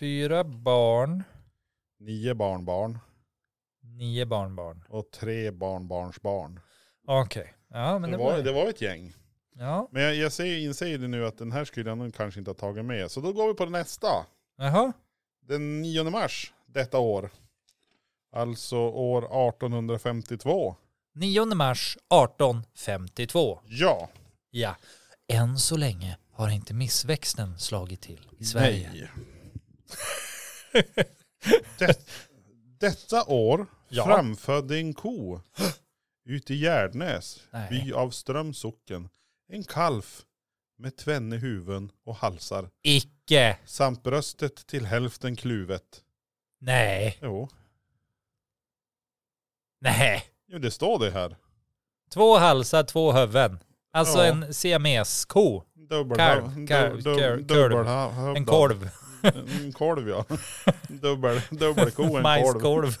Speaker 2: Fyra barn,
Speaker 1: Nio barnbarn
Speaker 2: nio barnbarn.
Speaker 1: och tre barnbarnsbarn.
Speaker 2: Okej. Ja, men
Speaker 1: det, var, det var ett gäng.
Speaker 2: Ja,
Speaker 1: Men jag, jag ser, inser ju det nu att den här skulle jag nog kanske inte ha tagit med. Så då går vi på nästa.
Speaker 2: jaha.
Speaker 1: Den 9 mars detta år. Alltså år 1852.
Speaker 2: 9 mars 1852.
Speaker 1: Ja.
Speaker 2: Ja. Än så länge har inte missväxten slagit till i Sverige.
Speaker 1: Nej. Det, detta år
Speaker 2: Ja.
Speaker 1: framfödde en ko ute i Gärdnäs,
Speaker 2: Nej.
Speaker 1: by av Strömsocken, en kalf med tvenne huvuden och halsar
Speaker 2: Icke.
Speaker 1: samt bröstet till hälften kluvet.
Speaker 2: Nej.
Speaker 1: Jo,
Speaker 2: Nej.
Speaker 1: jo det står det här.
Speaker 2: Två halsar, två huvuden. Alltså
Speaker 1: Ja.
Speaker 2: en siamesko.
Speaker 1: Dubbel,
Speaker 2: Kalv,
Speaker 1: dub-
Speaker 2: kalv,
Speaker 1: dub-
Speaker 2: kalv,
Speaker 1: dubbel-
Speaker 2: kalv.
Speaker 1: hövda.
Speaker 2: En korv.
Speaker 1: En kolv ja. Dubbel, dubbelko, en kolv.
Speaker 2: Majskolv.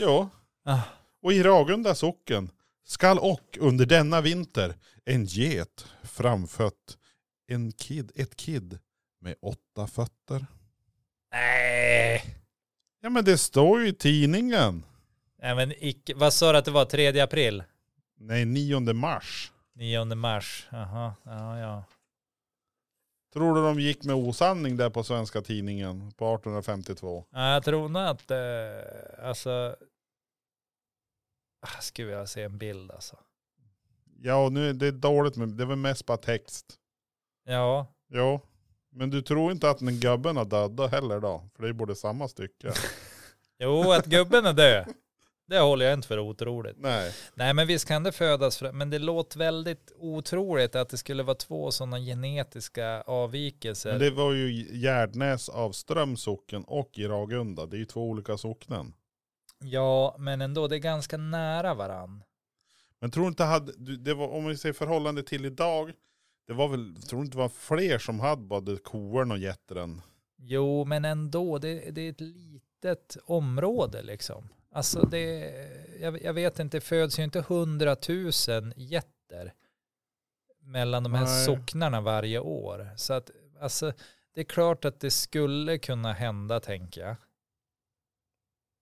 Speaker 1: Ja.
Speaker 2: Ah.
Speaker 1: Och i Ragunda socken skall och under denna vinter en get framfött en kid, ett kid med åtta fötter.
Speaker 2: Nej.
Speaker 1: Ja men det står ju i tidningen.
Speaker 2: Nej men icke. Vad sa du att det var? 3 april?
Speaker 1: Nej, 9 mars.
Speaker 2: 9 mars. Jaha. Ja, ja.
Speaker 1: Tror du de gick med osanning där på svenska tidningen på 1852?
Speaker 2: Ja, jag tror nog att, eh, alltså, Ah, skulle jag se en bild alltså.
Speaker 1: Ja, och nu är det dåligt men det var mest bara text.
Speaker 2: Ja,
Speaker 1: Jo. Men du tror inte att den gubben har dödat heller då? För det är både samma stycke.
Speaker 2: jo att gubben är död. Det håller jag inte för otroligt.
Speaker 1: Nej,
Speaker 2: Nej men visst kan det födas, fram- men det låter väldigt otroligt att det skulle vara två sådana genetiska avvikelser.
Speaker 1: men det var ju Gärdnäs Avström socken och i Ragunda. Det är ju två olika socknen.
Speaker 2: Ja, men ändå, det är ganska nära varann.
Speaker 1: Men tror du inte hade, du- det var, om vi säger förhållande till idag, det var väl, tror du inte det var fler som hade både korn och gettren?
Speaker 2: Jo, men ändå, det, det är ett litet område liksom. Alltså det, jag, jag vet inte, det föds ju inte hundratusen getter mellan de här
Speaker 1: Nej.
Speaker 2: socknarna varje år. Så att, alltså, det är klart att det skulle kunna hända, tänker jag.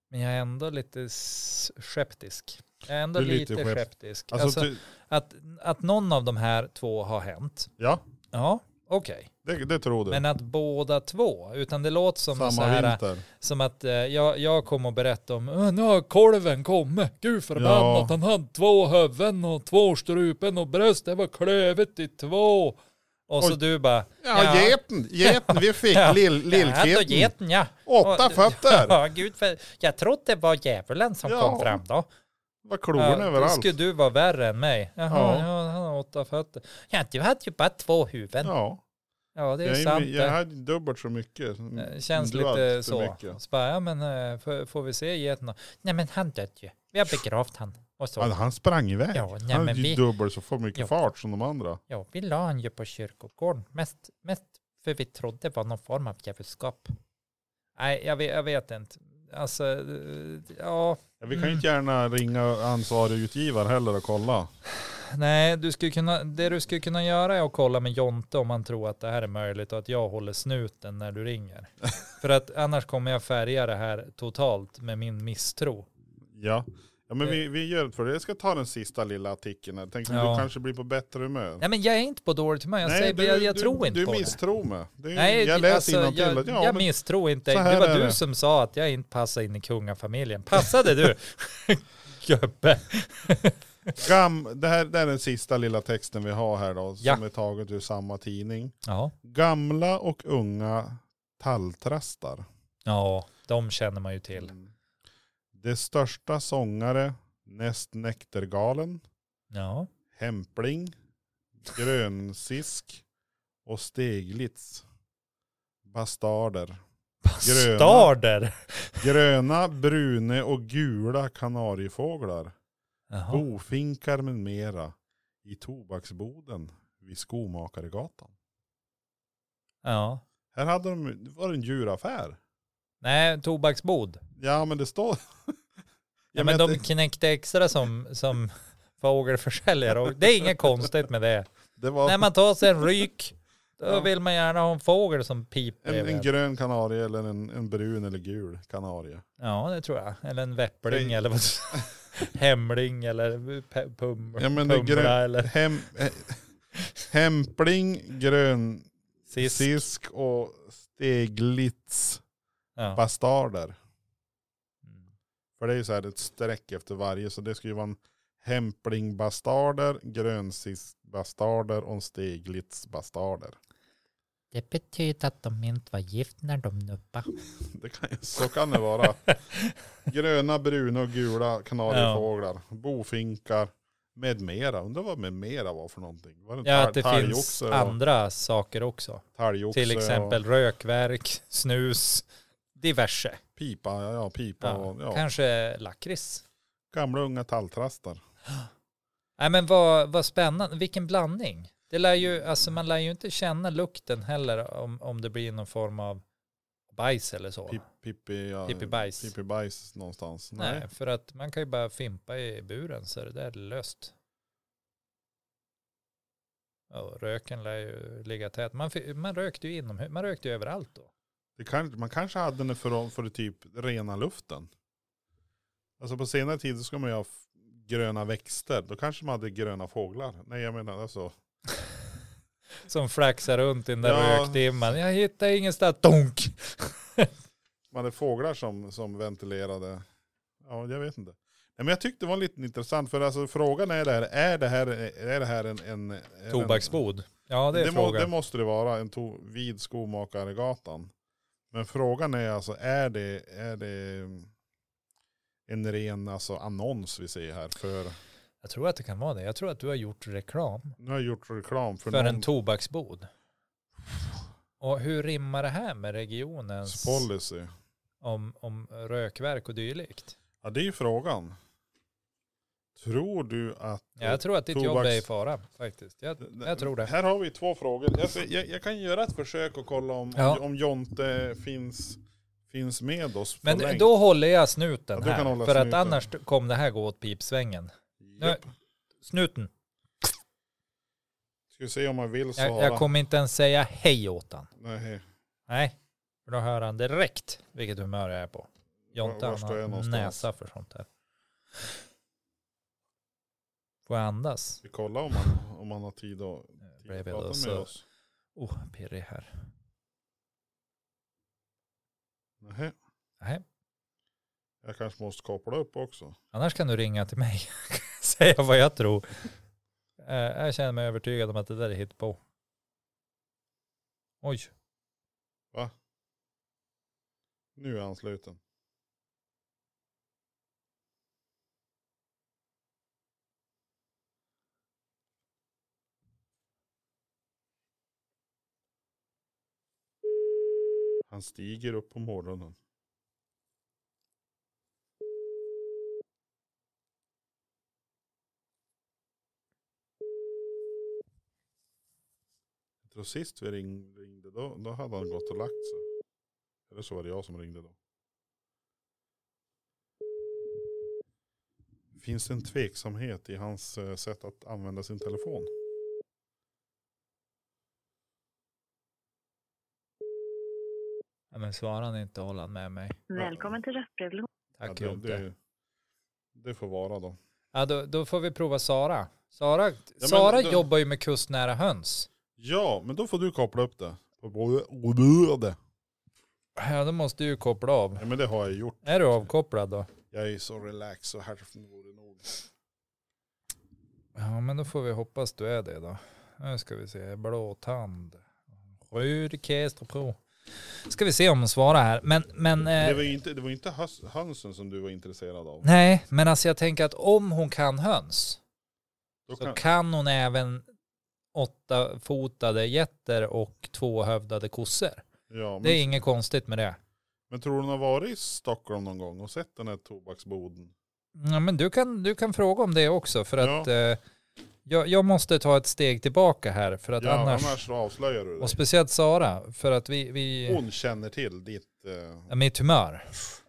Speaker 2: Men jag är ändå lite s- skeptisk. Jag är ändå
Speaker 1: Du är
Speaker 2: lite,
Speaker 1: lite skept-
Speaker 2: skeptisk.
Speaker 1: Alltså,
Speaker 2: Alltså,
Speaker 1: ty,
Speaker 2: att, att någon av de här två har hänt,
Speaker 1: ja,
Speaker 2: ja, okej.
Speaker 1: det, det tror du.
Speaker 2: Men att båda två, utan det låter som, någon så
Speaker 1: Samma
Speaker 2: här,
Speaker 1: vinter.
Speaker 2: som att eh, jag, jag kom och berättade om, "Äh, nu har kolven kommit, gud förbannat,
Speaker 1: Ja.
Speaker 2: han hade två huvuden och två strupen och bröst, det var klövet i två. Och så
Speaker 1: Oj.
Speaker 2: du bara,
Speaker 1: Ja,
Speaker 2: Ja.
Speaker 1: geten, geten, vi fick
Speaker 2: Ja.
Speaker 1: lill,
Speaker 2: ja, då
Speaker 1: lillketen.
Speaker 2: geten ja.
Speaker 1: Åtta
Speaker 2: Och-
Speaker 1: fötter.
Speaker 2: Ja, gud, för jag trodde det var djävulen som
Speaker 1: Ja.
Speaker 2: kom fram då.
Speaker 1: Vad klorna
Speaker 2: då
Speaker 1: överallt.
Speaker 2: skulle du vara värre än mig. Jaha, ja.
Speaker 1: Ja.
Speaker 2: han har åtta fötter. Ja, du hade ju bara två huvuden. Ja,
Speaker 1: Ja,
Speaker 2: det är
Speaker 1: jag, är-
Speaker 2: sant.
Speaker 1: jag
Speaker 2: det.
Speaker 1: hade dubbelt så mycket. som
Speaker 2: Eh, Känns
Speaker 1: du hade
Speaker 2: lite
Speaker 1: för
Speaker 2: så.
Speaker 1: mycket.
Speaker 2: så bara, ja, men, eh, får, får vi se geten då? Nej men han död ju. Vi har begravt han. Och
Speaker 1: Han,
Speaker 2: så.
Speaker 1: Alltså, han sprang iväg.
Speaker 2: Ja, nej,
Speaker 1: han
Speaker 2: men
Speaker 1: hade ju
Speaker 2: vi,
Speaker 1: dubbelt så för mycket
Speaker 2: Ja.
Speaker 1: fart som de andra.
Speaker 2: ja, vi la han ju på kyrkogården. Mest, mest för vi trodde det var någon form av djävulskap. Nej, jag vet, jag vet inte. Alltså, eh, ja,
Speaker 1: Ja, vi kan ju
Speaker 2: Mm.
Speaker 1: inte gärna ringa ansvarig utgivare heller och kolla.
Speaker 2: nej, du skulle kunna, det du skulle kunna göra är att kolla med Jonte om han tror att det här är möjligt och att jag håller snuten när du ringer. För att annars kommer jag färga det här totalt med min misstro.
Speaker 1: Ja, ja men vi, vi gör det för det. Jag ska ta den sista lilla artikeln. här. Jag tänkte att
Speaker 2: Ja.
Speaker 1: du kanske blir på bättre humör.
Speaker 2: Nej men jag är inte på dåligt humör, jag, säger,
Speaker 1: du,
Speaker 2: jag, jag
Speaker 1: du,
Speaker 2: tror inte
Speaker 1: Du
Speaker 2: på det.
Speaker 1: misstror mig. Det är,
Speaker 2: Nej,
Speaker 1: Mm, jag läser
Speaker 2: alltså,
Speaker 1: innantill.
Speaker 2: jag,
Speaker 1: ja,
Speaker 2: jag
Speaker 1: men,
Speaker 2: misstror inte.
Speaker 1: så
Speaker 2: Det
Speaker 1: här
Speaker 2: var
Speaker 1: är
Speaker 2: du
Speaker 1: det.
Speaker 2: som sa att jag inte passade in i kungafamiljen. Passade du? Gubbe.
Speaker 1: gam, det, här, det här är den sista lilla texten vi har här då. Som
Speaker 2: Ja.
Speaker 1: är taget ur samma tidning.
Speaker 2: Ja.
Speaker 1: Gamla och unga talltrastar.
Speaker 2: ja, de känner man ju till.
Speaker 1: Det största sångare, näst näktergalen,
Speaker 2: Ja,
Speaker 1: hämpling, grönsisk och steglitz. Bastarder. Gröna.
Speaker 2: bastarder.
Speaker 1: Gröna, brune och gula kanariefåglar,
Speaker 2: Jaha.
Speaker 1: bofinkar med mera i tobaksboden vid Skomakaregatan.
Speaker 2: Ja.
Speaker 1: Här hade de, det var en djuraffär.
Speaker 2: Nej, tobaksbod.
Speaker 1: Ja men det står...
Speaker 2: Ja, men de knäckte extra som, som fågelförsäljare. Och det är inget konstigt med det.
Speaker 1: det var
Speaker 2: När man tar sig en ryk, då
Speaker 1: Ja.
Speaker 2: vill man gärna ha en fågel som piper.
Speaker 1: en, en
Speaker 2: bredvid.
Speaker 1: grön kanarie eller en, en brun eller gul kanarie.
Speaker 2: Ja, det tror jag. Eller en väppling
Speaker 1: Det-
Speaker 2: eller vad Hemling eller pe- pum,
Speaker 1: Ja, men det är
Speaker 2: pumla
Speaker 1: grön-
Speaker 2: eller
Speaker 1: Hem, eh, hämpling, grön,
Speaker 2: sis.
Speaker 1: sisk och steglitz
Speaker 2: Ja. Mm.
Speaker 1: bastarder. För det är ju så här ett streck efter varje. Så det ska ju vara en hämplingbastarder, grönsisbastarder och en steglitsbastarder.
Speaker 2: Det betyder att de inte var gift när de nuppade.
Speaker 1: Det kan, ju- så kan det vara. Gröna, bruna och gula kanariefåglar, bofinkar med mera. Undrar vad med mera var för någonting. Var det
Speaker 2: Ja, att det
Speaker 1: tal-
Speaker 2: finns
Speaker 1: talgoxe och-
Speaker 2: andra saker också.
Speaker 1: talgoxe
Speaker 2: Till exempel rökverk, snus, diverse.
Speaker 1: Och pipa, ja, ja pipa
Speaker 2: Ja.
Speaker 1: och ja,
Speaker 2: Kanske lakrits.
Speaker 1: gamla unga talltrastar.
Speaker 2: Nej men vad, vad spännande, vilken blandning. Det lär ju, alltså man lär ju inte känna lukten heller om, om det blir någon form av bajs eller så.
Speaker 1: Pip, pippi, ja,
Speaker 2: Pippi bajs.
Speaker 1: Pippi bajs någonstans.
Speaker 2: Nej.
Speaker 1: Nej.
Speaker 2: för att man kan ju bara fimpa i buren så det där är löst. Ja, och röken lär ju ligga tät. Man, fi- man rökte ju inomhus, man rökte ju överallt då.
Speaker 1: Det kan, man kanske hade den för, för typ rena luften. Alltså på senare tid så ska man ju ha f- gröna växter. Då kanske man hade gröna fåglar. Nej jag menar alltså.
Speaker 2: Som flaxar runt i den där
Speaker 1: Ja.
Speaker 2: rökdimman. Jag hittar ingenstans. Donk!
Speaker 1: Man hade fåglar som, som ventilerade. Ja jag vet inte. Nej, men jag tyckte det var lite intressant. För alltså frågan är det här. Är det här, är det här en, en, en...
Speaker 2: Tobaksbod. Ja, det är
Speaker 1: det, må, det
Speaker 2: frågan.
Speaker 1: måste det vara, en to, vid Skomakaregatan. Men frågan är alltså, är det, är det mm, en ren alltså, annons vi ser här. För,
Speaker 2: Jag tror att det kan vara det. Jag tror att du har gjort reklam
Speaker 1: nu har jag gjort reklam för,
Speaker 2: för
Speaker 1: någon
Speaker 2: en tobaksbod. Och hur rimmar det här med regionens
Speaker 1: policy.
Speaker 2: om, om rökverk och dylikt?
Speaker 1: Ja, det är ju frågan. Tror du att...
Speaker 2: Ja, jag tror att ditt jobb
Speaker 1: Tobaks-
Speaker 2: är i fara faktiskt. Jag, jag tror det.
Speaker 1: Här har vi två frågor. Jag, ska- jag, jag kan göra ett försök och kolla om,
Speaker 2: Ja.
Speaker 1: om Jonte finns, finns med oss. på
Speaker 2: Men
Speaker 1: länk.
Speaker 2: då håller jag
Speaker 1: Ja,
Speaker 2: snuten
Speaker 1: du kan
Speaker 2: här.
Speaker 1: hålla
Speaker 2: För att
Speaker 1: snuten.
Speaker 2: annars kom det här gå åt pipsvängen.
Speaker 1: Japp.
Speaker 2: Snuten.
Speaker 1: Ska vi se om han vill svara.
Speaker 2: Jag, jag kommer inte ens säga hej åt han.
Speaker 1: Nej,
Speaker 2: Nej, för då hör han direkt vilket humör jag är på. Jonte
Speaker 1: Var-
Speaker 2: han
Speaker 1: var står jag
Speaker 2: har
Speaker 1: någonstans?
Speaker 2: näsa för sånt här. Får jag andas?
Speaker 1: vi kollar om han, om han har tid att, tid att
Speaker 2: Bredvid
Speaker 1: prata med
Speaker 2: oss och-
Speaker 1: oss.
Speaker 2: Oh, pirrig här.
Speaker 1: Nej,
Speaker 2: Nej,
Speaker 1: jag kanske måste koppla upp också.
Speaker 2: annars kan du ringa till mig. Säga vad jag tror. Eh, Jag känner mig övertygad om att det där är hittpå. Oj,
Speaker 1: Nu är han sluten. Han stiger upp på morgonen. Jag tror sist vi ring- ringde då, då hade han gått och lagt sig. Eller så var det jag som ringde då. Finns det en tveksamhet i hans eh, sätt att använda sin telefon?
Speaker 2: ja, men svarar han inte håller han med mig.
Speaker 3: Välkommen till röstbrevlådan.
Speaker 2: Tack
Speaker 1: Ja,
Speaker 2: Jonte.
Speaker 1: det, det, det får vara då.
Speaker 2: Ja, då, då får vi prova Sara. Sara,
Speaker 1: men
Speaker 2: Sara
Speaker 1: då-
Speaker 2: jobbar ju med kustnära höns.
Speaker 1: Ja, men då får du koppla upp det. Och både- och både.
Speaker 2: Ja, då måste du ju koppla av.
Speaker 1: Ja, men det har jag gjort.
Speaker 2: Är du avkopplad då?
Speaker 1: Jag är så relaxed så hälften vore nog.
Speaker 2: Eh. Ja, men då får vi hoppas du är det då. Nu ska vi se, blåtand. Rudkästerpro. Ska vi se om hon svarar här. Men, men,
Speaker 1: Det
Speaker 2: eh,
Speaker 1: var ju inte, det var ju inte hös- hönsen som du var intresserad av.
Speaker 2: nej, men alltså jag tänker att om hon kan höns
Speaker 1: Då
Speaker 2: så
Speaker 1: kan,
Speaker 2: kan hon även åttafotade getter och tvåhövdade kossor.
Speaker 1: ja,
Speaker 2: Det är
Speaker 1: men,
Speaker 2: inget konstigt med det.
Speaker 1: men tror du hon har varit i Stockholm någon gång och sett den här tobaksboden?
Speaker 2: Ja, men du kan, du kan fråga om det också för
Speaker 1: Ja.
Speaker 2: att eh, jag, jag måste ta ett steg tillbaka här för att
Speaker 1: Ja, annars, annars
Speaker 2: annars,
Speaker 1: avslöjar du
Speaker 2: och
Speaker 1: det.
Speaker 2: speciellt Sara, för att vi, vi
Speaker 1: Hon känner till ditt... Eh,
Speaker 2: ja, mitt humör.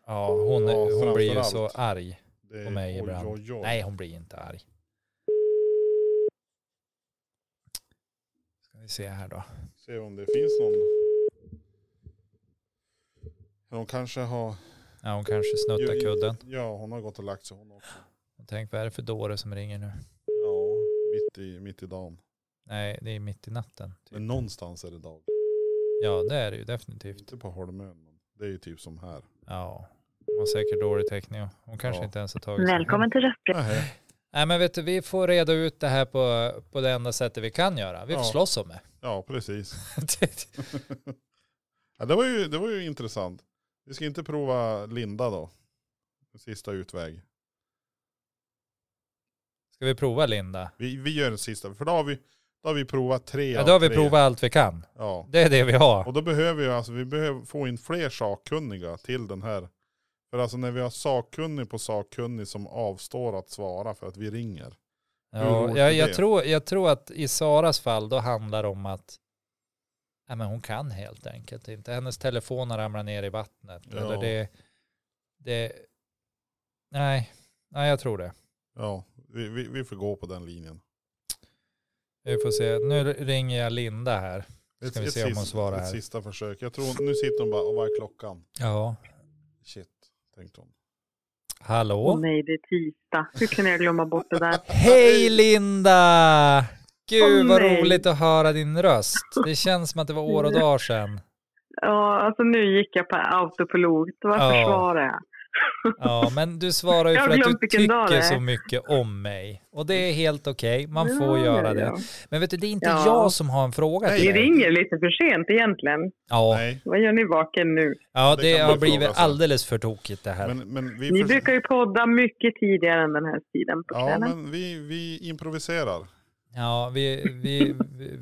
Speaker 2: Ja, hon,
Speaker 1: Ja,
Speaker 2: hon blir ju
Speaker 1: framförallt.
Speaker 2: så arg
Speaker 1: det,
Speaker 2: på mig
Speaker 1: oj,
Speaker 2: ibland.
Speaker 1: oj, oj.
Speaker 2: Nej, hon blir inte arg. Ska vi se här då.
Speaker 1: Se om det finns någon. Hon kanske har...
Speaker 2: Ja, hon kanske snuttar kudden.
Speaker 1: Ja, hon har gått och lagt sig hon också.
Speaker 2: Tänk, vad är det för dåre som ringer nu?
Speaker 1: Ja, mitt i, mitt i dagen.
Speaker 2: Nej, det är mitt i natten. Typ. Typ.
Speaker 1: Men någonstans är det dag.
Speaker 2: Ja, det är det ju definitivt.
Speaker 1: Inte på Holmön. men Det är ju typ som här.
Speaker 2: Ja, hon har säkert dålig täckning. och Hon kanske
Speaker 1: Ja.
Speaker 2: inte ens har tagit sig hem.
Speaker 3: Välkommen till röstbrevlådan.
Speaker 1: Nähä.
Speaker 2: Nej men vet du, vi får reda ut det här på, på det enda sättet vi kan göra. Vi får
Speaker 1: Ja.
Speaker 2: slåss om det.
Speaker 1: Ja, precis. Ja, det, var ju, det var ju intressant. Vi ska inte prova Linda då. Sista utväg.
Speaker 2: Ska vi prova Linda?
Speaker 1: Vi, vi gör en sista. För då har vi, då har vi provat tre
Speaker 2: Ja,
Speaker 1: av
Speaker 2: då har vi
Speaker 1: tre.
Speaker 2: provat allt vi kan.
Speaker 1: Ja.
Speaker 2: Det är det vi har.
Speaker 1: Och då behöver vi, alltså, vi behöver få in fler sakkunniga till den här. För alltså när vi har sakkunnig på sakkunnig som avstår att svara för att vi ringer. hur
Speaker 2: Ja,
Speaker 1: roligt
Speaker 2: jag,
Speaker 1: är
Speaker 2: jag,
Speaker 1: det?
Speaker 2: tror, jag tror att i Saras fall då handlar det om att nej, men hon kan helt enkelt inte. Hennes telefon har ramlat ner i vattnet.
Speaker 1: Ja.
Speaker 2: Eller det, det, nej, nej, jag tror det.
Speaker 1: Ja, vi, vi, vi får gå på den linjen.
Speaker 2: Vi får se. Nu ringer jag Linda här. Ska vi se om hon
Speaker 1: sista-
Speaker 2: svarar
Speaker 1: ett
Speaker 2: här.
Speaker 1: sista försök. Jag tror, nu sitter hon bara, och vad är klockan?
Speaker 2: Ja,
Speaker 1: Shit, tänkte hon.
Speaker 2: hallå?
Speaker 3: nej, det är tisdag. Hur kunde jag glömma bort det där?
Speaker 2: Hej Linda! Gud
Speaker 3: Åh,
Speaker 2: vad
Speaker 3: nej.
Speaker 2: roligt att höra din röst. Det känns som att det var år och dagar sedan.
Speaker 3: Ja, alltså nu gick jag på autopilot. Varför
Speaker 2: Ja.
Speaker 3: svarar jag?
Speaker 2: Ja, men du svarar ju
Speaker 3: Jag har
Speaker 2: för att du
Speaker 3: glömt vilken dag det
Speaker 2: tycker
Speaker 3: är.
Speaker 2: så mycket om mig. Och det är helt okej, man
Speaker 3: Ja,
Speaker 2: får
Speaker 3: ja,
Speaker 2: göra det.
Speaker 3: ja.
Speaker 2: Men vet du, det är inte
Speaker 3: Ja.
Speaker 2: jag som har en fråga
Speaker 1: Nej.
Speaker 2: till
Speaker 3: Ni
Speaker 2: dig.
Speaker 3: ringer lite för sent egentligen.
Speaker 2: Ja,
Speaker 1: Nej,
Speaker 3: Vad gör ni vaken nu?
Speaker 2: ja
Speaker 1: Det
Speaker 2: det,
Speaker 1: kan
Speaker 2: har
Speaker 1: man fråga
Speaker 2: blivit
Speaker 1: sig.
Speaker 2: alldeles för tokigt det här.
Speaker 1: men, men vi...
Speaker 3: Ni
Speaker 1: förs-
Speaker 3: brukar ju podda mycket tidigare än den här tiden på
Speaker 1: Ja,
Speaker 3: kvällen.
Speaker 1: men vi, vi improviserar.
Speaker 2: Ja, vi, vi,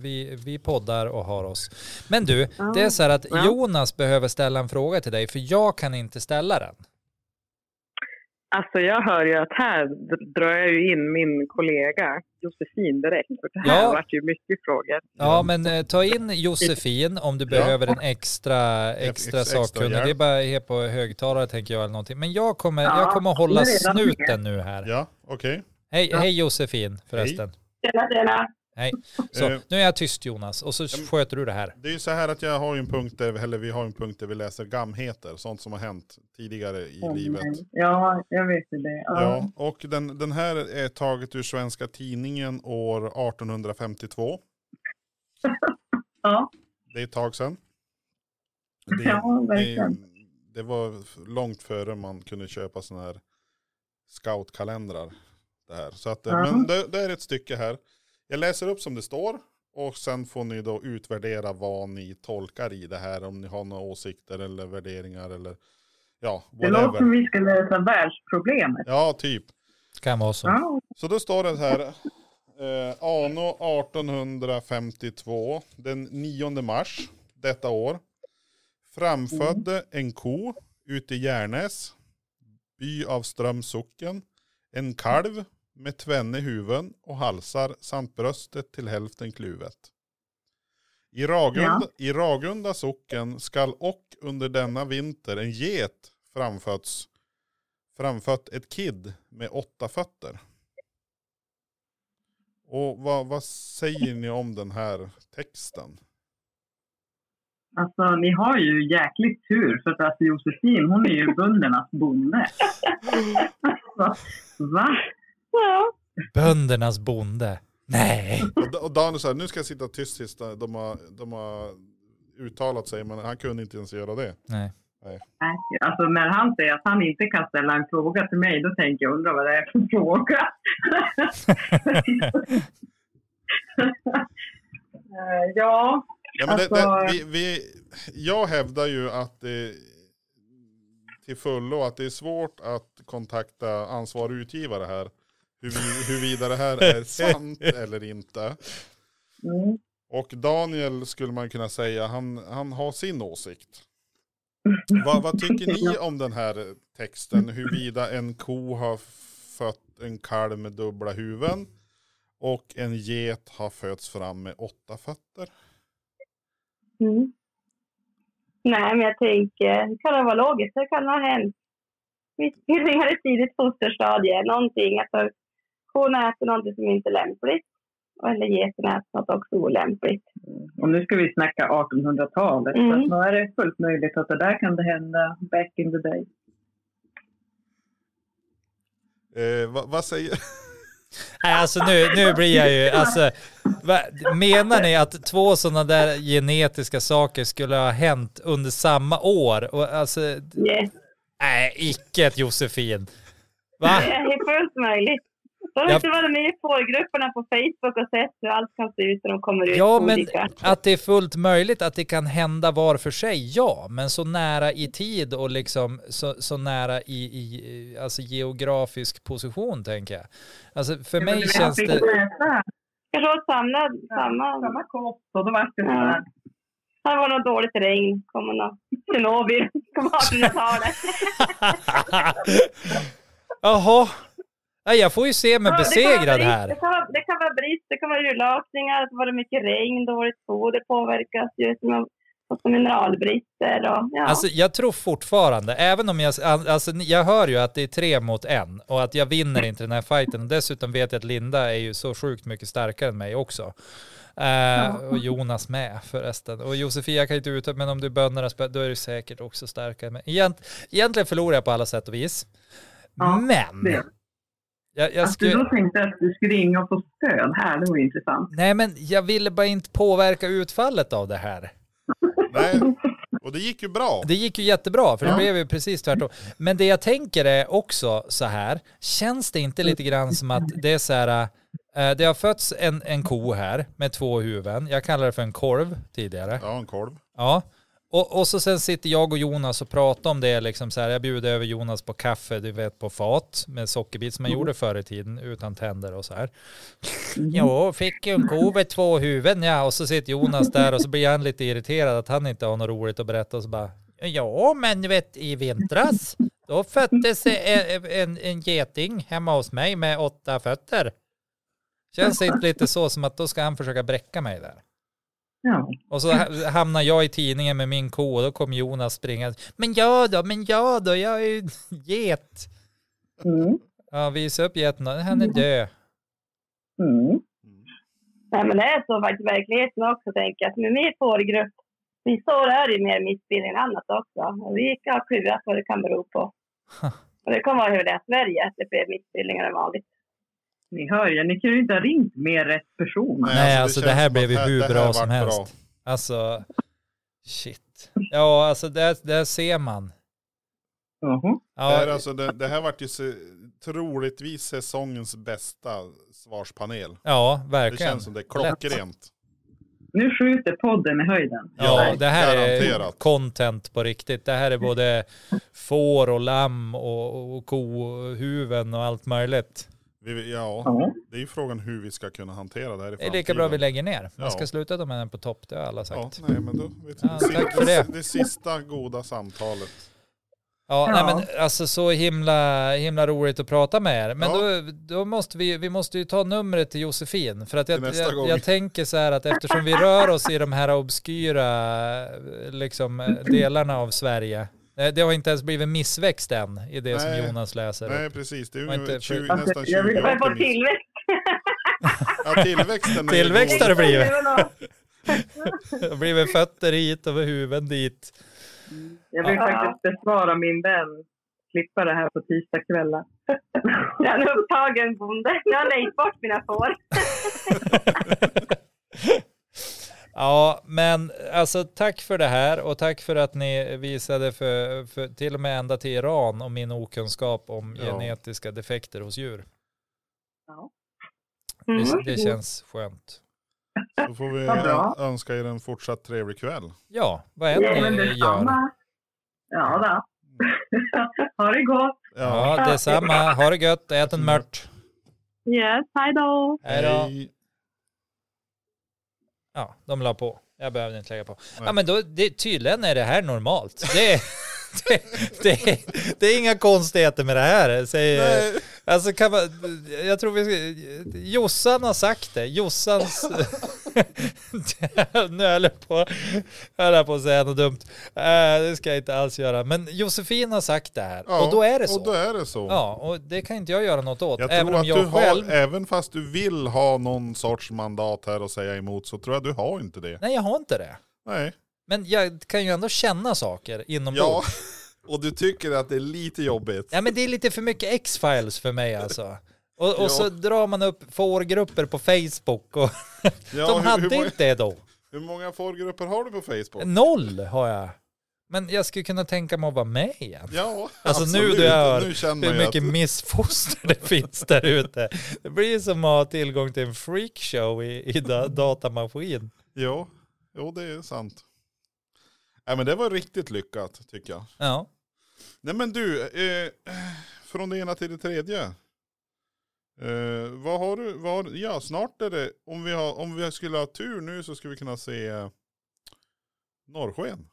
Speaker 2: vi, vi poddar och har oss. Men du,
Speaker 3: Ja.
Speaker 2: det är så här att
Speaker 3: Ja.
Speaker 2: Jonas behöver ställa en fråga till dig, för jag kan inte ställa den.
Speaker 3: Alltså jag hör ju att här d- drar jag ju in min kollega Josefin direkt. För det här
Speaker 2: Ja.
Speaker 3: ja. vart ju mycket frågor.
Speaker 2: Ja, men eh, ta in Josefin om du behöver en extra, extra
Speaker 1: ex- extra
Speaker 2: sakkunnig. Det är
Speaker 1: hjälp.
Speaker 2: bara att ge på högtalare tänker jag eller någonting. Men jag kommer,
Speaker 3: Ja,
Speaker 2: jag kommer hålla
Speaker 3: nu är jag med.
Speaker 2: snuten nu här.
Speaker 1: Ja, okej.
Speaker 2: Hej,
Speaker 3: Ja.
Speaker 2: hej Josefin förresten.
Speaker 3: Tjena, tjena.
Speaker 2: Hej. Så,
Speaker 1: Eh.
Speaker 2: nu är jag tyst Jonas och så sköter du det här.
Speaker 1: Det är ju så här att jag har ju en punkt där, eller vi har en punkt där vi läser gamheter, sånt som har hänt tidigare i livet.
Speaker 3: Ja, jag vet ju det.
Speaker 1: Ja, och den, den här är taget ur Svenska Tidningen år 1852.
Speaker 3: ja.
Speaker 1: Det är ett tag sedan. Det,
Speaker 3: Ja,
Speaker 1: det,
Speaker 3: verkligen.
Speaker 1: det var f- långt före man kunde köpa sådana här scoutkalendrar. Det här. Så att, eh,
Speaker 3: Ja.
Speaker 1: Men det, det är ett stycke här. Jag läser upp som det står och sen får ni då utvärdera vad ni tolkar i det här. Om ni har några åsikter eller värderingar eller ja, whatever.
Speaker 3: vi ska lösa världsproblemet.
Speaker 1: Ja, typ.
Speaker 2: Kan vara så.
Speaker 3: Ja.
Speaker 1: Så då står det så här. Eh, anno 1852, den 9 mars detta år. Framfödde en ko ute i Järnäs, by av Strömsocken. En kalv med tvenne huvuden och halsar samt bröstet till hälften kluvet. I Ragunda, I Ragunda socken skall och under denna vinter en get framfötts, framfött ett kid med åtta fötter. Och vad, vad säger ni om den här texten?
Speaker 4: Alltså ni har ju jäkligt tur för att alltså, Josefin hon är ju böndernas bonde. Alltså, va?
Speaker 3: Ja.
Speaker 2: Böndernas bonde. Nej.
Speaker 1: Och, Da- och Daniel säger, nu ska jag sitta tyst tills de har, de har uttalat sig, men han kunde inte ens göra det.
Speaker 2: Nej.
Speaker 4: Nej. Alltså när han säger att han inte kan ställa en fråga till mig då tänker jag undra vad det är för fråga.
Speaker 3: Eh, ja.
Speaker 1: Ja, men det, det,
Speaker 3: Alltså-
Speaker 1: vi, vi, jag hävdar ju att det, till fullo att det är svårt att kontakta ansvarig utgivare här. Hur, vi- huruvida det här är sant eller inte.
Speaker 4: Mm.
Speaker 1: Och Daniel skulle man kunna säga, han, han har sin åsikt. Vad, vad tycker ni om den här texten? Huruvida en ko har fött en kalv med dubbla huvuden och en get har fötts fram med åtta fötter?
Speaker 5: Mm. Nej, men jag tänker, det kan det vara logiskt, det kan ha hänt. Missbildningar i tidigt fosterstadie, någonting, alltså kon äter någonting som inte är lämpligt. Och Eller geten äter något också olämpligt.
Speaker 4: Och nu ska vi snacka 1800-talet.
Speaker 5: Mm.
Speaker 4: Så att nu är det fullt möjligt att det där kan det hända back in the day.
Speaker 1: Eh, vad, vad säger...
Speaker 2: Nej, alltså nu, nu blir jag ju, alltså, va, menar ni att två sådana där genetiska saker skulle ha hänt under samma år? Och alltså, d-
Speaker 5: Yes.
Speaker 2: nej, icke ett Josefin. Va?
Speaker 5: Det är fullt möjligt. De har
Speaker 2: Ja.
Speaker 5: inte varit med i fårgrupperna på Facebook och sett hur allt kan se ut när de kommer ut
Speaker 2: Ja, men
Speaker 5: olika.
Speaker 2: att det är fullt möjligt att det kan hända var för sig, ja, men så nära i tid och liksom så, så nära i, i alltså geografisk position tänker jag. Alltså för mig
Speaker 4: Men
Speaker 2: känns
Speaker 4: fick
Speaker 2: det...
Speaker 4: läsa
Speaker 5: Kanske åt samma, samma.
Speaker 4: samma kost och då var det så
Speaker 5: Ja.
Speaker 4: här.
Speaker 5: Det var något dåligt regn, kommer någon Tjernobyl, kommer 1800-talet.
Speaker 2: Jaha. Nej, Jag får ju se mig
Speaker 5: Ja, det kan vara
Speaker 2: besegrad
Speaker 5: brist,
Speaker 2: här.
Speaker 5: Det kan, vara, det kan vara brist, det kan vara urlakningar, det var mycket regn, dåligt foder påverkas ju som av- och så mineralbrister och ja.
Speaker 2: Alltså jag tror fortfarande, även om jag, alltså, ni- jag hör ju att det är tre mot en och att jag vinner inte den här fighten. Och dessutom vet jag att Linda är ju så sjukt mycket starkare än mig också. Eh, Och Jonas med förresten. Och Josefia kan ju inte uttala, men om du är böndernas bö- då är du säkert också starkare än mig. Egent, egentligen förlorar jag på alla sätt och vis.
Speaker 4: Ja,
Speaker 2: men!
Speaker 4: det.
Speaker 2: Jag, jag
Speaker 4: Att
Speaker 2: skulle-
Speaker 4: du då tänkte att du skulle ringa och få stöd här, det var ju intressant.
Speaker 2: Nej men jag ville bara inte påverka utfallet av det här.
Speaker 1: Nej, Och det gick ju bra.
Speaker 2: Det gick ju jättebra, för det
Speaker 4: Ja.
Speaker 2: blev ju precis tvärtom. Men det jag tänker är också så här, känns det inte lite grann som att det är så här, eh, det har fötts en, en ko här med två huvuden, jag kallar det för en korv tidigare.
Speaker 1: Ja, en kolv.
Speaker 2: Ja. Och, och så sen sitter jag och Jonas och pratar om det, liksom så här, jag bjuder över Jonas på kaffe, du vet på fat med sockerbit som man gjorde förr i tiden utan tänder och så här.
Speaker 4: Mm.
Speaker 2: Jo, fick ju en ko med två huvuden ja, och så sitter Jonas där och så blir han lite irriterad att han inte har något roligt att berätta och så bara Ja, men du vet i vintras då föddes en, en, en geting hemma hos mig med åtta fötter. Känns det inte lite så som att då ska han försöka bräcka mig där?
Speaker 4: Ja.
Speaker 2: Och så ha- hamnar jag i tidningen med min ko och då kommer Jonas springa. Men jag då, men jag då, jag är ju get.
Speaker 4: Mm.
Speaker 2: Ja, visa upp geten då. Han är död.
Speaker 4: Mm.
Speaker 5: Nej, men det är så faktiskt i verkligheten också, tänker jag. Att Med min fårgrupp, vi står där ju mer missbildning än annat också. Och vi har klurat vad det kan bero på. Och det kan vara hur det är i Sverige, att det blir missbildningar än vanligt.
Speaker 4: Ni hör ju, ni kan ju inte ha ringt mer rätt person.
Speaker 2: Nej, alltså,
Speaker 1: känns
Speaker 2: det här
Speaker 1: som att
Speaker 2: blev ju hur
Speaker 1: det här
Speaker 2: bra
Speaker 1: vart
Speaker 2: som helst. Alltså, shit. Ja, alltså där, där ser man.
Speaker 4: Jaha.
Speaker 1: Det, här,
Speaker 2: Ja,
Speaker 1: alltså, det, det här vart ju se, troligtvis säsongens bästa svarspanel.
Speaker 2: ja
Speaker 1: Det
Speaker 2: verkligen.
Speaker 1: känns som det är klockrent.
Speaker 4: Nu skjuter podden i höjden.
Speaker 2: Ja,
Speaker 1: Ja,
Speaker 2: det här är
Speaker 1: garanterat.
Speaker 2: content på riktigt. Det här är både får och lamm och, och kohuven och allt möjligt.
Speaker 1: Vi, ja,
Speaker 4: Ja.
Speaker 1: det är ju frågan hur vi ska kunna hantera det här i
Speaker 2: Det
Speaker 1: framtiden.
Speaker 2: är lika bra vi lägger ner. Man ska
Speaker 1: Ja.
Speaker 2: sluta med den på topp, det har alla sagt.
Speaker 1: Ja, nej, men då, vet du,
Speaker 2: Ja, tack för det.
Speaker 1: Det sista goda samtalet.
Speaker 2: Ja,
Speaker 4: Ja.
Speaker 2: Nej, men alltså så himla, himla roligt att prata med er. Men
Speaker 1: Ja.
Speaker 2: då, då måste vi, vi måste ju ta numret till Josefin. För att
Speaker 1: Till
Speaker 2: jag,
Speaker 1: nästa
Speaker 2: jag,
Speaker 1: gång.
Speaker 2: jag tänker så här att eftersom vi rör oss i de här obskyra eh, liksom, eh, delarna av Sverige. Eh, Det har inte ens blivit missväxt än i det som
Speaker 1: Nej.
Speaker 2: Jonas läser.
Speaker 1: Nej, precis. Det är
Speaker 2: Var
Speaker 1: ju
Speaker 2: inte för-
Speaker 1: 20,
Speaker 4: Alltså,
Speaker 1: nästan 20
Speaker 4: jag vill-
Speaker 5: Vi får
Speaker 1: år till miss-
Speaker 5: tillväxt.
Speaker 1: Ja, tillväxten är ju
Speaker 2: Tillväxt har
Speaker 1: god.
Speaker 2: det blivit.
Speaker 5: Ja.
Speaker 2: Det har blivit fötter hit och huvuden dit.
Speaker 4: Jag vill
Speaker 5: Ja.
Speaker 4: faktiskt besvara min vän. Klippa det här på tisdagskvällar.
Speaker 5: Jag är en upptagen bonde. Jag har lejt bort mina får.
Speaker 2: Ja, men alltså tack för det här och tack för att ni visade för, för till och med ända till Iran om min okunskap om
Speaker 1: Ja.
Speaker 2: genetiska defekter hos djur.
Speaker 5: Mm.
Speaker 2: Det, det känns skönt.
Speaker 1: Då får vi
Speaker 4: Vad bra.
Speaker 1: ö- önska er en fortsatt trevlig kväll.
Speaker 2: Ja, vad
Speaker 5: Ja,
Speaker 2: än
Speaker 4: Men
Speaker 2: ni gör.
Speaker 4: detsamma. Ja, då. ha det gott.
Speaker 1: Ja,
Speaker 2: Ja, detsamma. Ha det gött. Ät en mört.
Speaker 5: Yes, hej då!
Speaker 2: Hej då.
Speaker 1: hej.
Speaker 2: Ja, de la på. Jag behövde inte lägga på. Ja,
Speaker 1: Nej.
Speaker 2: men då, det, tydligen är det här normalt. Det, det, det, det är inga konstigheter med det här, säger
Speaker 1: Nej.
Speaker 2: Alltså kan man, jag tror vi ska- Jossan har sagt det, Jossans... nu höll jag på, höll jag på att säga något dumt. Eh, det ska jag inte alls göra. Men Josefin har sagt det här
Speaker 1: Ja,
Speaker 2: och då är det så.
Speaker 1: Och då är det så.
Speaker 2: Ja, och det kan inte jag göra något åt.
Speaker 1: Jag
Speaker 2: Även
Speaker 1: tror
Speaker 2: om
Speaker 1: att
Speaker 2: jag
Speaker 1: du
Speaker 2: själv...
Speaker 1: har, även fast du vill ha någon sorts mandat här och säga emot så tror jag du har inte det.
Speaker 2: Nej, jag har inte det.
Speaker 1: Nej.
Speaker 2: Men jag kan ju ändå känna saker inombords.
Speaker 1: Ja,
Speaker 2: Ja.
Speaker 1: och du tycker att det är lite jobbigt.
Speaker 2: ja, men det är lite för mycket X-Files för mig alltså. Och, och
Speaker 1: Ja.
Speaker 2: så drar man upp fårgrupper på Facebook och
Speaker 1: Ja, hur,
Speaker 2: de hade
Speaker 1: hur, många,
Speaker 2: inte det då.
Speaker 1: hur många folkgrupper har du på Facebook?
Speaker 2: Noll har jag. Men jag skulle kunna tänka mig att vara med igen.
Speaker 1: Ja,
Speaker 2: Alltså nu
Speaker 1: absolut.
Speaker 2: du hör
Speaker 1: Nu känner
Speaker 2: hur
Speaker 1: jag
Speaker 2: mycket missfoster det finns där ute. Det blir ju som att ha tillgång till en freakshow i, i da- datamaskin.
Speaker 1: Ja, jo, det är sant. Nej, men det var riktigt lyckat tycker jag.
Speaker 2: Ja.
Speaker 1: Nej men du, eh, från det ena till det tredje. Eh, vad har du, vad har, ja snart är det, om vi, har, om vi skulle ha tur nu så skulle vi kunna se eh, norrsken.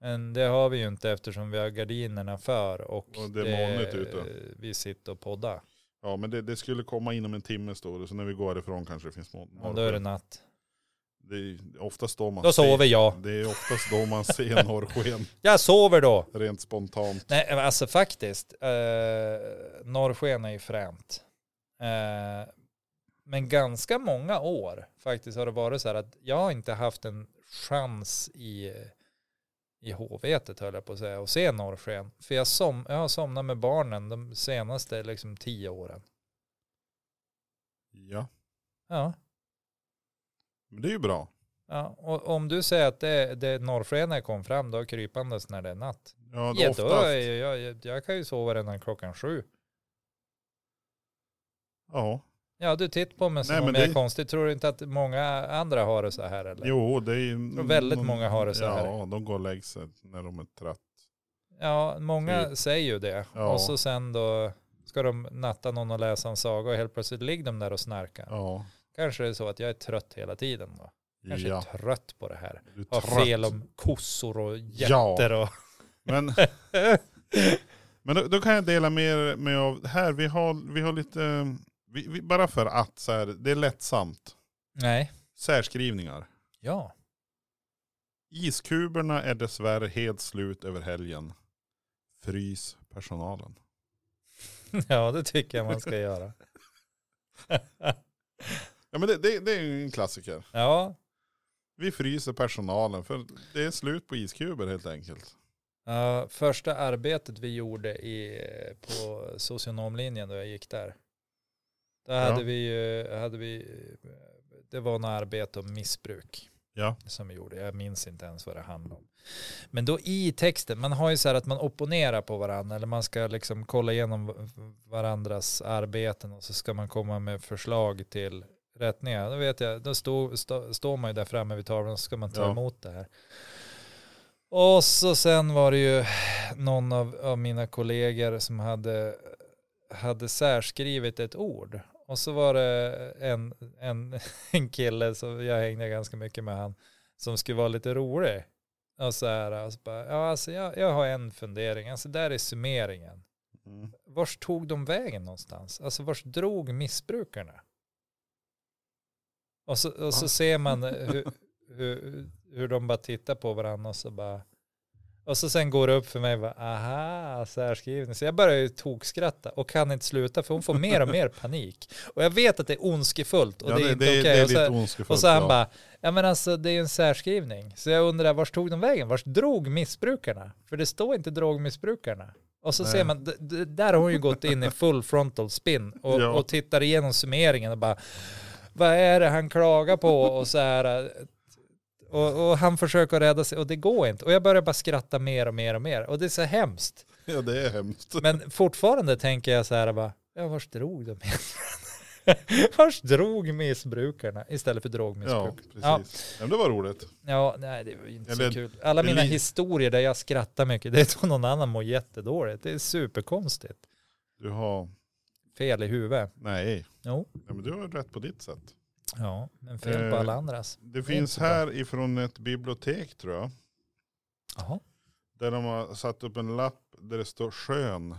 Speaker 2: Men det har vi ju inte eftersom vi har gardinerna för och, eh,
Speaker 1: Och det är molnigt ute.
Speaker 2: vi sitter och poddar.
Speaker 1: Ja men det, det skulle komma inom en timme står det, så när vi går härifrån kanske det finns mor-
Speaker 2: Och då är det
Speaker 1: norrsken.
Speaker 2: natt.
Speaker 1: Det är oftast då man
Speaker 2: Då sover
Speaker 1: ser,
Speaker 2: jag.
Speaker 1: Det är oftast då man ser norrsken,
Speaker 2: Jag sover då.
Speaker 1: rent spontant.
Speaker 2: Nej, men alltså faktiskt. Eh, norrsken är ju fränt. Eh, men ganska många år faktiskt har det varit så här att jag har inte haft en chans i, i hovetet höll jag på att säga att se norrsken. För jag, som, jag har somnat med barnen de senaste liksom tio åren.
Speaker 1: Ja,
Speaker 2: Ja,
Speaker 1: men det är ju bra.
Speaker 2: Ja, och om du säger att det, det norrskenet kom fram då krypandes när det är natt.
Speaker 1: Ja, det
Speaker 2: Ja, då
Speaker 1: oftast.
Speaker 2: är jag, jag, jag, jag kan ju sova redan klockan sju.
Speaker 1: Ja,
Speaker 2: Ja, du tittar på mig som
Speaker 1: Nej,
Speaker 2: om
Speaker 1: men
Speaker 2: jag är
Speaker 1: det-
Speaker 2: konstig. Tror du inte att många andra har det så här eller?
Speaker 1: jo det är ju.
Speaker 2: tror väldigt många har det så här.
Speaker 1: Ja, de går och lägger sig när de är trött.
Speaker 2: Ja, många
Speaker 1: Typ.
Speaker 2: säger ju det.
Speaker 1: Ja.
Speaker 2: Och så sen då ska de natta någon och läsa en saga och helt plötsligt ligger de där och snarkar.
Speaker 1: Ja,
Speaker 2: Kanske är det så att jag är trött hela tiden då. Kanske
Speaker 1: ja.
Speaker 2: är trött på det här.
Speaker 1: Du är
Speaker 2: Har
Speaker 1: trött.
Speaker 2: fel om kossor och
Speaker 1: Ja.
Speaker 2: jätter och...
Speaker 1: Men, men då, då kan jag dela med er med av här. Vi har, vi har lite, eh, vi, vi, bara för att så här, det är lättsamt.
Speaker 2: Nej.
Speaker 1: Särskrivningar.
Speaker 2: Ja.
Speaker 1: Iskuberna är dessvärre helt slut över helgen. Frys personalen.
Speaker 2: ja, det tycker jag man ska göra.
Speaker 1: Ja men det, det, det är ju en klassiker.
Speaker 2: ja.
Speaker 1: Vi fryser personalen för det är slut på iskuber helt enkelt.
Speaker 2: Ja, första arbetet vi gjorde i, på socionomlinjen då jag gick där. Där hade vi ju, hade vi, det var något arbete om missbruk.
Speaker 1: Ja.
Speaker 2: Som vi gjorde, jag minns inte ens vad det handlade om. Men då i texten, man har ju så här att man opponerar på varandra eller man ska liksom kolla igenom varandras arbeten och så ska man komma med förslag till rättningar. Då vet jag, då stå, stå, står man ju där framme vid tavlan så ska man ta
Speaker 1: Ja.
Speaker 2: emot det här. Och så sen var det ju någon av, av mina kollegor som hade, hade särskrivit ett ord. Och så var det en, en, en kille, som jag hängde ganska mycket med han, som skulle vara lite rolig. Och så här, och så bara, ja, alltså jag, jag har en fundering, alltså där är summeringen.
Speaker 1: Mm.
Speaker 2: Vars tog de vägen någonstans? Alltså vars drog missbrukarna? Och så, och så ser man hur, hur, hur de bara tittar på varandra och så bara... Och så sen går det upp för mig, bara, aha, särskrivning. Så jag börjar ju tokskratta och kan inte sluta för hon får mer och mer panik. Och jag vet att det är ondskefullt och
Speaker 1: Ja,
Speaker 2: det är
Speaker 1: det,
Speaker 2: inte
Speaker 1: det,
Speaker 2: okej.
Speaker 1: det är
Speaker 2: Och så-
Speaker 1: lite ondskefullt.
Speaker 2: och så han
Speaker 1: ja.
Speaker 2: bara, ja men alltså det är ju en särskrivning. Så jag undrar, vars tog de vägen? Vars drog missbrukarna? För det står inte drogmissbrukarna. Och så
Speaker 1: Nej.
Speaker 2: ser man, d- d- där har hon ju gått in i full frontal spin och,
Speaker 1: Ja.
Speaker 2: och tittar igenom summeringen och bara, vad är det han klagar på? Och så här, eh, och, och han försöker rädda sig och det går inte. Och jag börjar bara skratta mer och mer och mer. Och det är så hemskt.
Speaker 1: Ja det är hemskt.
Speaker 2: Men fortfarande tänker jag så här bara, ja vars drog de Vars drog missbrukarna istället för
Speaker 1: ja
Speaker 2: drogmissbruk?
Speaker 1: precis. Ja, men det var roligt.
Speaker 2: Ja, nej det var ju inte
Speaker 1: Eller-
Speaker 2: så kul. Alla mina
Speaker 1: eller-
Speaker 2: historier där jag skrattar mycket, det är då någon annan mår jättedåligt. Det är superkonstigt.
Speaker 1: Du har,
Speaker 2: Fel i huvudet.
Speaker 1: nej.
Speaker 2: Jo.
Speaker 1: Ja, men du har rätt på ditt sätt.
Speaker 2: Ja, men fel på
Speaker 1: Eh,
Speaker 2: alla andras.
Speaker 1: Det
Speaker 2: är
Speaker 1: finns
Speaker 2: inte bra.
Speaker 1: här ifrån ett bibliotek tror jag.
Speaker 2: Jaha.
Speaker 1: Där de har satt upp en lapp där det står skön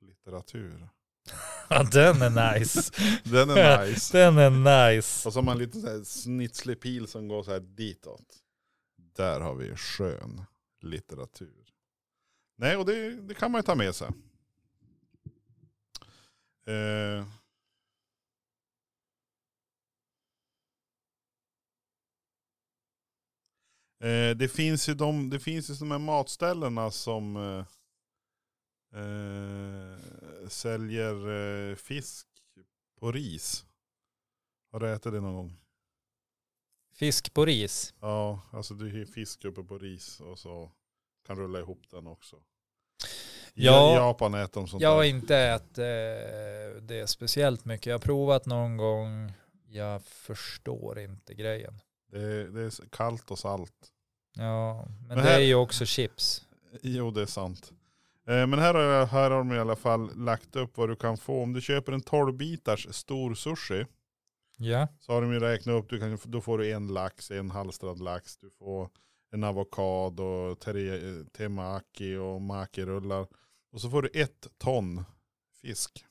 Speaker 1: litteratur.
Speaker 2: Ja, den är nice.
Speaker 1: Den är nice.
Speaker 2: Den är nice.
Speaker 1: Och så har man en liten så här snitslig pil som går så här ditåt. Där har vi skön litteratur. Nej, och det, det kan man ju ta med sig. Eh. Eh, det finns ju de, det finns ju de här matställena som eh, eh, säljer eh, fisk på ris. Har du ätit det någon gång?
Speaker 2: Fisk på ris.
Speaker 1: Ja, alltså du har fisk uppe på ris och så kan rulla ihop den också. I
Speaker 2: Ja.
Speaker 1: Japan äter de sånt
Speaker 2: Jag har
Speaker 1: där.
Speaker 2: inte ätit eh, det speciellt mycket. Jag har provat någon gång. Jag förstår inte grejen.
Speaker 1: Det är, det är kallt och salt.
Speaker 2: Ja, men
Speaker 1: Men
Speaker 2: det
Speaker 1: här-
Speaker 2: är ju också chips.
Speaker 1: Jo, det är sant. Eh, Men här har, jag- här har de i alla fall lagt upp vad du kan få. Om du köper en 12-bitars stor sushi
Speaker 2: Ja.
Speaker 1: så har de ju räknat upp, du kan, då får du en lax, en halstrad lax, du får en avokado, teri- temaki och makirullar. Och så får du ett ton fisk.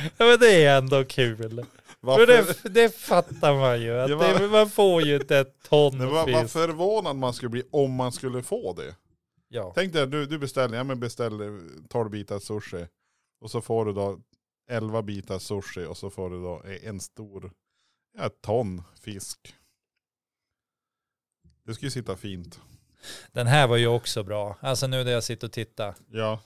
Speaker 2: ja men det är ändå kul. För det, det fattar man ju. Att
Speaker 1: Ja, va-
Speaker 2: det, man får ju inte ett ton
Speaker 1: Nej, vad, vad
Speaker 2: fisk.
Speaker 1: förvånad man skulle bli om man skulle få det.
Speaker 2: Ja.
Speaker 1: Tänk dig, du, du beställer, ja, men beställer 12 bitar sushi och så får du då 11 bitar sushi och så får du då e, en stor, ja, ett ton fisk. Det skulle ju sitta fint.
Speaker 2: Den här var ju också bra. Alltså nu när jag sitter och tittar.
Speaker 1: Ja,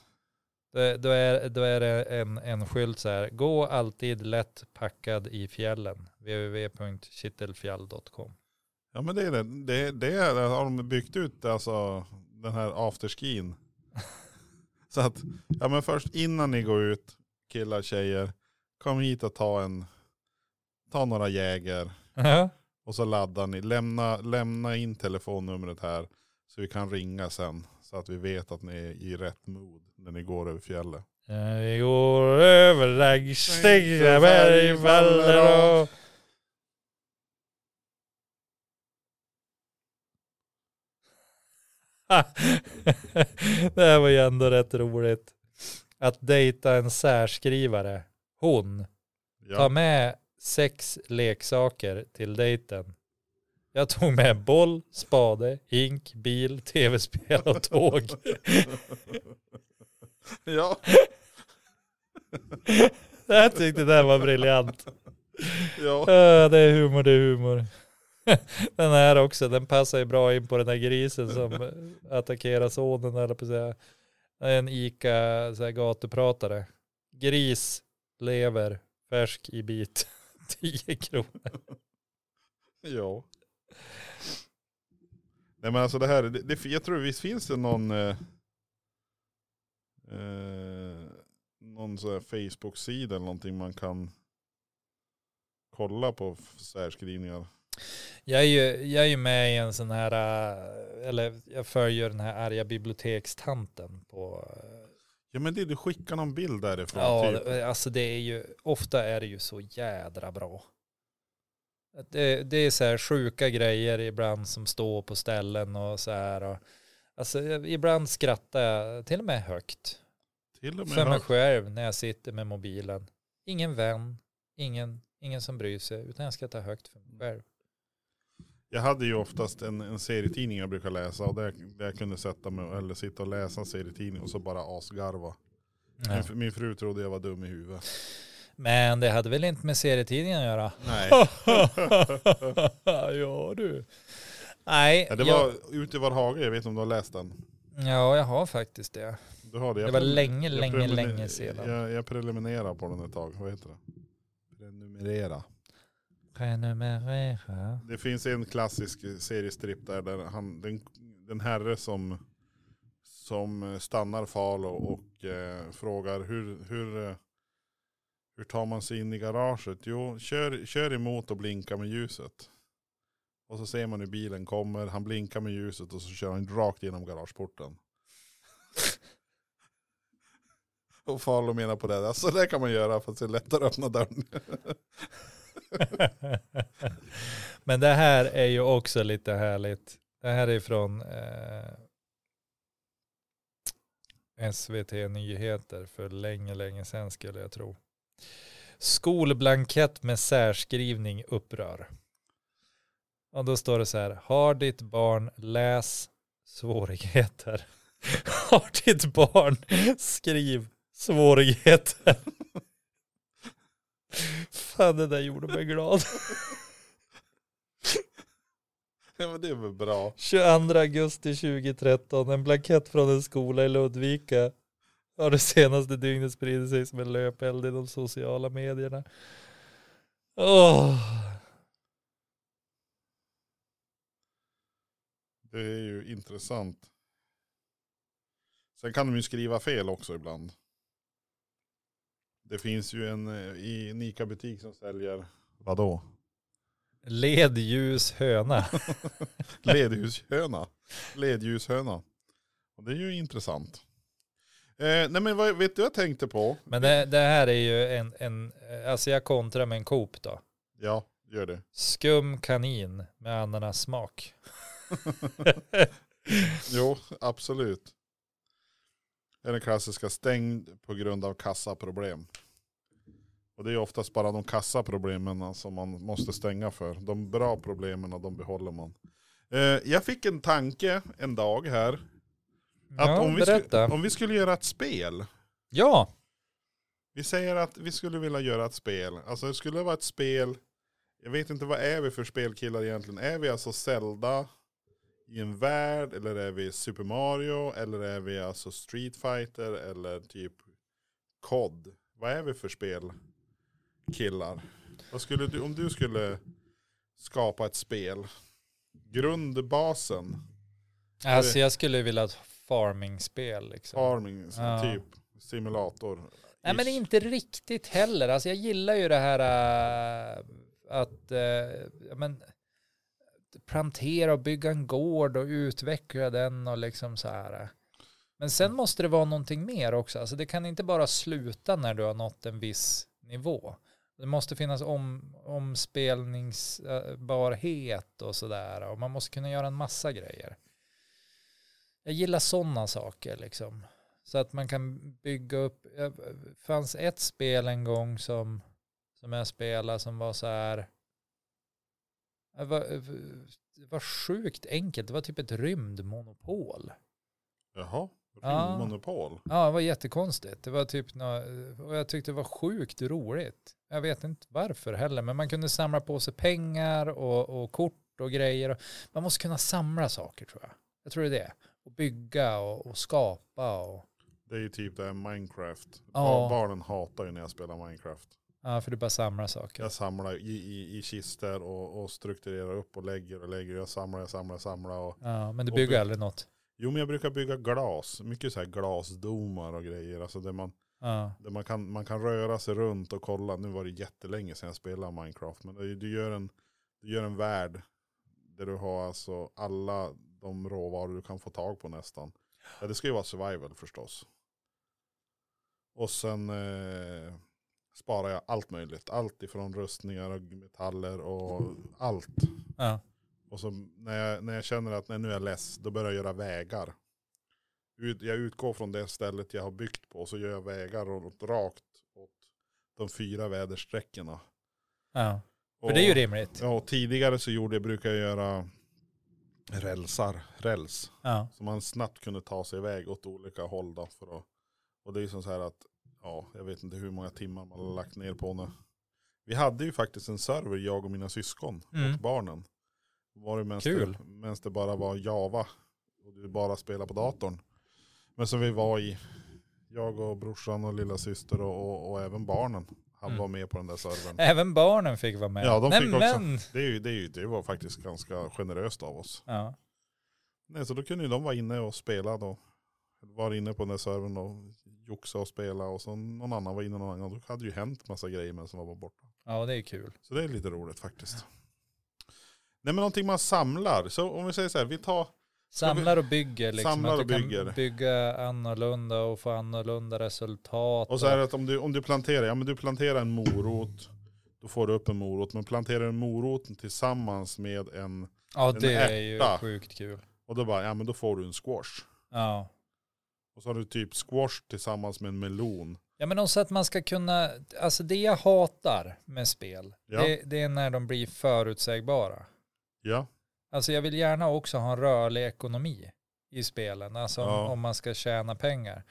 Speaker 2: Det- Då är, då är det en, en skylt så här, gå alltid lätt packad i fjällen, www.kittelfjall.com.
Speaker 1: Ja men det är det. Det, det är, har de byggt ut alltså den här afterskin. Så att, ja men först innan ni går ut, killar, tjejer, kom hit och ta en, ta några jäger
Speaker 2: Ja,
Speaker 1: och så laddar ni. Lämna, lämna in telefonnumret här så vi kan ringa sen. Så att vi vet att ni är i rätt mood när ni går över fjället.
Speaker 2: Vi går över raggstängiga berg, faller och... Ha, Det här var ju ändå rätt roligt. Att dejta en särskrivare. Hon. Ta
Speaker 1: Ja,
Speaker 2: med sex leksaker till dejten. Jag tog med boll, spade, hink, bil, tv-spel och tåg.
Speaker 1: ja
Speaker 2: Jag tyckte det här var briljant.
Speaker 1: ja.
Speaker 2: Ah, Det är humor, det är humor. Den här också, den passar ju bra in på den här grisen som attackerar sonen, eller på att säga. Det är En ICA så här, gatupratare. Gris, lever, färsk i bit. 10 kronor.
Speaker 1: Ja. Nej men alltså det här, det, det, jag tror visst finns det någon eh, eh, någon sån här Facebook-sida eller någonting man kan kolla på f- särskrivningar.
Speaker 2: Jag är, ju, jag är ju med i en sån här, äh, eller jag följer den här arga bibliotekstanten på, äh,
Speaker 1: Ja men det, du skickar någon bild därifrån
Speaker 2: ja,
Speaker 1: typ.
Speaker 2: det- alltså det är ju, ofta är det ju så jädra bra. Att Det, det är så här sjuka grejer ibland som står på ställen och så här. Och, alltså jag- ibland skrattar jag till och med högt
Speaker 1: Till och med
Speaker 2: för mig
Speaker 1: högt.
Speaker 2: själv när jag sitter med mobilen. Ingen vän, ingen, ingen som bryr sig, utan jag skrattar högt för mig själv.
Speaker 1: Jag hade ju oftast en, en serietidning jag brukar läsa och där, där jag kunde sätta mig eller sitta och läsa en serietidning och så bara asgarva.
Speaker 2: Ja.
Speaker 1: Min, min fru trodde jag var dum i huvudet.
Speaker 2: Men det hade väl inte med serietidningen att göra?
Speaker 1: Nej.
Speaker 2: ja du. Nej,
Speaker 1: Ja, det var ute i vår hage, jag vet inte om du har läst den.
Speaker 2: jag, ja, jag har faktiskt det.
Speaker 1: Du har det. Jag
Speaker 2: Det var
Speaker 1: prenumer-
Speaker 2: länge,
Speaker 1: jag
Speaker 2: länge,
Speaker 1: prenumer-
Speaker 2: länge sedan.
Speaker 1: Jag, jag prenumererar på den ett tag. Vad heter det? Prenumerera.
Speaker 2: Prenumerera.
Speaker 1: Det finns en klassisk seriestripp där, där han, den, den herre som, som stannar Falo och eh, frågar hur, hur, eh, hur tar man sig in i garaget? Jo, kör, kör emot och blinka med ljuset. Och så ser man hur bilen kommer, han blinkar med ljuset och så kör han rakt genom garageporten. Och Falo menar på det, där, så där kan man göra fast det är lättare att öppna dörren.
Speaker 2: Men det här är ju också lite härligt. Det här är från eh, SVT Nyheter för länge, länge sedan skulle jag tro. Skolblankett med särskrivning upprör. Och då står det så här, har ditt barn läs svårigheter? Har ditt barn skriv svårigheter? Fan, det där gjorde mig glad.
Speaker 1: Ja, men det är väl bra.
Speaker 2: 22 augusti 2013, en blankett från en skola i Ludvika har det senaste dygnet spridit sig som en löpeld i de sociala medierna. Åh,
Speaker 1: Det är ju intressant. Sen kan de ju skriva fel också ibland. Det finns ju en eh, i en ICA-butik som säljer, vadå?
Speaker 2: Ledljus höna.
Speaker 1: Ledhushöna. Ledljushöna. Och det är ju intressant. Eh, nej men vad, vet du vad jag tänkte på?
Speaker 2: Men det, det här är ju en, en, alltså jag kontrar med en Coop då.
Speaker 1: Ja, gör det.
Speaker 2: Skum kanin med ananassmak.
Speaker 1: Jo, absolut. Det är den klassiska stängd på grund av kassaproblem. Och det är oftast bara de kassaproblemen som man måste stänga för. De bra problemen och de behåller man. Eh, jag fick en tanke en dag här. Att
Speaker 2: Ja,
Speaker 1: om, vi skulle,
Speaker 2: berätta.
Speaker 1: om vi skulle göra ett spel.
Speaker 2: Ja,
Speaker 1: Vi säger att vi skulle vilja göra ett spel. Alltså det skulle vara ett spel. Jag vet inte vad är vi för spelkillar egentligen. Är vi alltså Zelda, i en värld eller är vi Super Mario eller är vi alltså Street Fighter eller typ COD? Vad är vi för spel killar? Vad skulle du, om du skulle skapa ett spel, grundbasen,
Speaker 2: Alltså jag skulle vilja ha ett farming-spel liksom.
Speaker 1: farming, så
Speaker 2: Ja.
Speaker 1: typ simulator.
Speaker 2: Nej men
Speaker 1: ish.
Speaker 2: inte riktigt heller. Alltså jag gillar ju det här äh, att äh, ja, men, plantera och bygga en gård och utveckla den och liksom så här. äh. Men sen måste det vara någonting mer också. Alltså det kan inte bara sluta när du har nått en viss nivå. Det måste finnas om, omspelningsbarhet och sådär. Och man måste kunna göra en massa grejer. Jag gillar sådana saker liksom. Så att man kan bygga upp. Det fanns ett spel en gång som, som jag spelade som var så här. Det var, det var sjukt enkelt. Det var typ ett rymdmonopol.
Speaker 1: Jaha,
Speaker 2: Ja.
Speaker 1: monopol.
Speaker 2: Ja, det var jättekonstigt. Det var typ nå- och jag tyckte det var sjukt roligt. Jag vet inte varför heller, men man kunde samla på sig pengar och, och kort och grejer. Man måste kunna samla saker tror jag. Jag tror det är det. Och bygga och, och skapa och
Speaker 1: Det är ju typ det här Minecraft.
Speaker 2: Ja.
Speaker 1: Barnen hatar ju när jag spelar Minecraft.
Speaker 2: ja, för du bara samlar saker.
Speaker 1: Jag samlar i, i, i kister och, och strukturerar upp och lägger och lägger. Jag samlar, jag samlar, jag samlar. Och...
Speaker 2: Ja, men du
Speaker 1: Och
Speaker 2: bygger
Speaker 1: bygg-
Speaker 2: aldrig något.
Speaker 1: Jo men jag brukar bygga glas. Mycket så här glasdomar och grejer. Alltså där man,
Speaker 2: Ja.
Speaker 1: där man, kan, man kan röra sig runt och kolla. Nu var det jättelänge sedan jag spelade Minecraft. Men det- du gör en, du gör en värld. Där du har alltså alla de råvaror du kan få tag på nästan. Ja, det ska ju vara survival förstås. Och sen eh, sparar jag allt möjligt. Allt ifrån rustningar och metaller och allt.
Speaker 2: Ja.
Speaker 1: Och så när jag, när jag känner att nej, nu är jag less, då börjar jag göra vägar. Ut, jag utgår från det stället jag har byggt på, så gör jag vägar åt, rakt åt de fyra vädersträckorna.
Speaker 2: ja. För
Speaker 1: Och-
Speaker 2: det är ju rimligt.
Speaker 1: Ja, och tidigare så gjorde jag, brukar jag göra rälsar, räls.
Speaker 2: Ja.
Speaker 1: Så man snabbt kunde ta sig iväg åt olika håll då. För att, och det är ju som så här att, ja, jag vet inte hur många timmar man har lagt ner på nu. Vi hade ju faktiskt en server, jag och mina syskon
Speaker 2: Mm.
Speaker 1: och barnen. Var det mens
Speaker 2: Kul.
Speaker 1: Det, mens det bara var Java och du bara spelade på datorn. Men som vi var i, jag och brorsan och lilla syster och, och, och även barnen. Han
Speaker 2: Mm.
Speaker 1: var med på den där servern.
Speaker 2: Även barnen fick vara med.
Speaker 1: Ja, de fick också.
Speaker 2: men. också.
Speaker 1: Det, är ju, det, är ju, det var faktiskt ganska generöst av oss.
Speaker 2: Ja.
Speaker 1: Nej, så då kunde ju de vara inne och spela då. Var inne på den där servern och joxa och spela och så någon annan var inne någon annan. Då hade det ju hänt massa grejer men som var borta.
Speaker 2: ja, det är kul.
Speaker 1: Så det är lite roligt faktiskt. Nej men någonting man samlar. Så om vi säger så här, vi tar,
Speaker 2: Samlar och bygger. Liksom,
Speaker 1: Samlar
Speaker 2: att du
Speaker 1: och
Speaker 2: kan
Speaker 1: bygger.
Speaker 2: bygga annorlunda och få annorlunda resultat.
Speaker 1: och så är det att om du, om du planterar, ja men du planterar en morot. Då får du upp en morot. Men planterar du moroten tillsammans med en,
Speaker 2: ja,
Speaker 1: en
Speaker 2: det är ju
Speaker 1: ärta.
Speaker 2: sjukt kul.
Speaker 1: och då bara, ja men då får du en squash.
Speaker 2: Ja.
Speaker 1: Och så har du typ squash tillsammans med en melon.
Speaker 2: Ja men också att man ska kunna, alltså det jag hatar med spel,
Speaker 1: Ja.
Speaker 2: det, det är när de blir förutsägbara.
Speaker 1: Ja,
Speaker 2: Alltså jag vill gärna också ha en rörlig ekonomi i spelen, alltså om,
Speaker 1: Ja.
Speaker 2: om man ska tjäna pengar.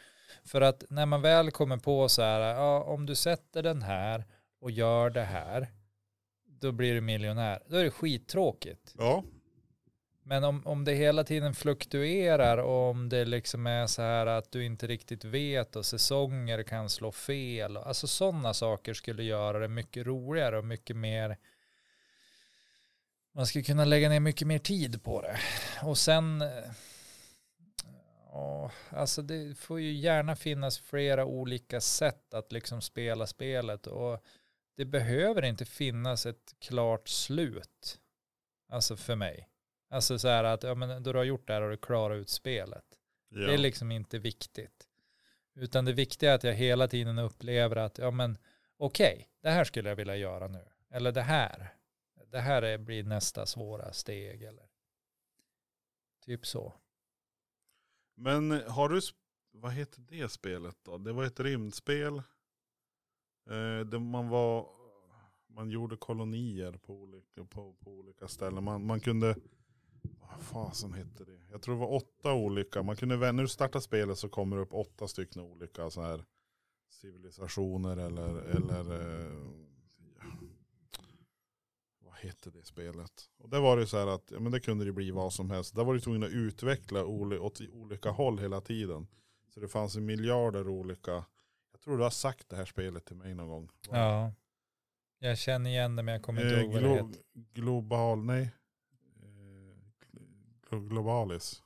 Speaker 2: För att när man väl kommer på så här, ja, om du sätter den här och gör det här, då blir du miljonär. Då är det skittråkigt.
Speaker 1: ja,
Speaker 2: Men om, om det hela tiden fluktuerar och om det liksom är så här att du inte riktigt vet och säsonger kan slå fel, och- alltså sådana saker skulle göra det mycket roligare och mycket mer man skulle kunna lägga ner mycket mer tid på det. Och sen, eh, ja, alltså det får ju gärna finnas flera olika sätt att liksom spela spelet och det behöver inte finnas ett klart slut. Alltså för mig. Alltså så här att ja, men då du har gjort det här har du klarat ut spelet.
Speaker 1: ja.
Speaker 2: Det är liksom inte viktigt. Utan det viktiga är att jag hela tiden upplever att ja men okej, det här skulle jag vilja göra nu. Eller det här. Det här är, blir nästa svåra steg eller typ så.
Speaker 1: Men har du, sp- vad heter det spelet då? Det var ett rymdspel. Eh, där man var, man gjorde kolonier på olika, på, på olika ställen. Man, man kunde, vad fasen hette det? Jag tror det var åtta olika. Man kunde, vä- när du startar spelet så kommer det upp åtta stycken olika så här civilisationer eller, eller eh, vad hette det spelet? Och där var det ju så här att ja, men det kunde det bli vad som helst. Där var du tvungen att utveckla oli- åt olika håll hela tiden. Så det fanns ju miljarder olika. Jag tror du har sagt det här spelet till mig någon gång.
Speaker 2: Ja. Jag känner igen det men jag kommer inte
Speaker 1: Eh,
Speaker 2: ihåg vad det
Speaker 1: glo-
Speaker 2: heter.
Speaker 1: global, nej. Eh, glo- globalis.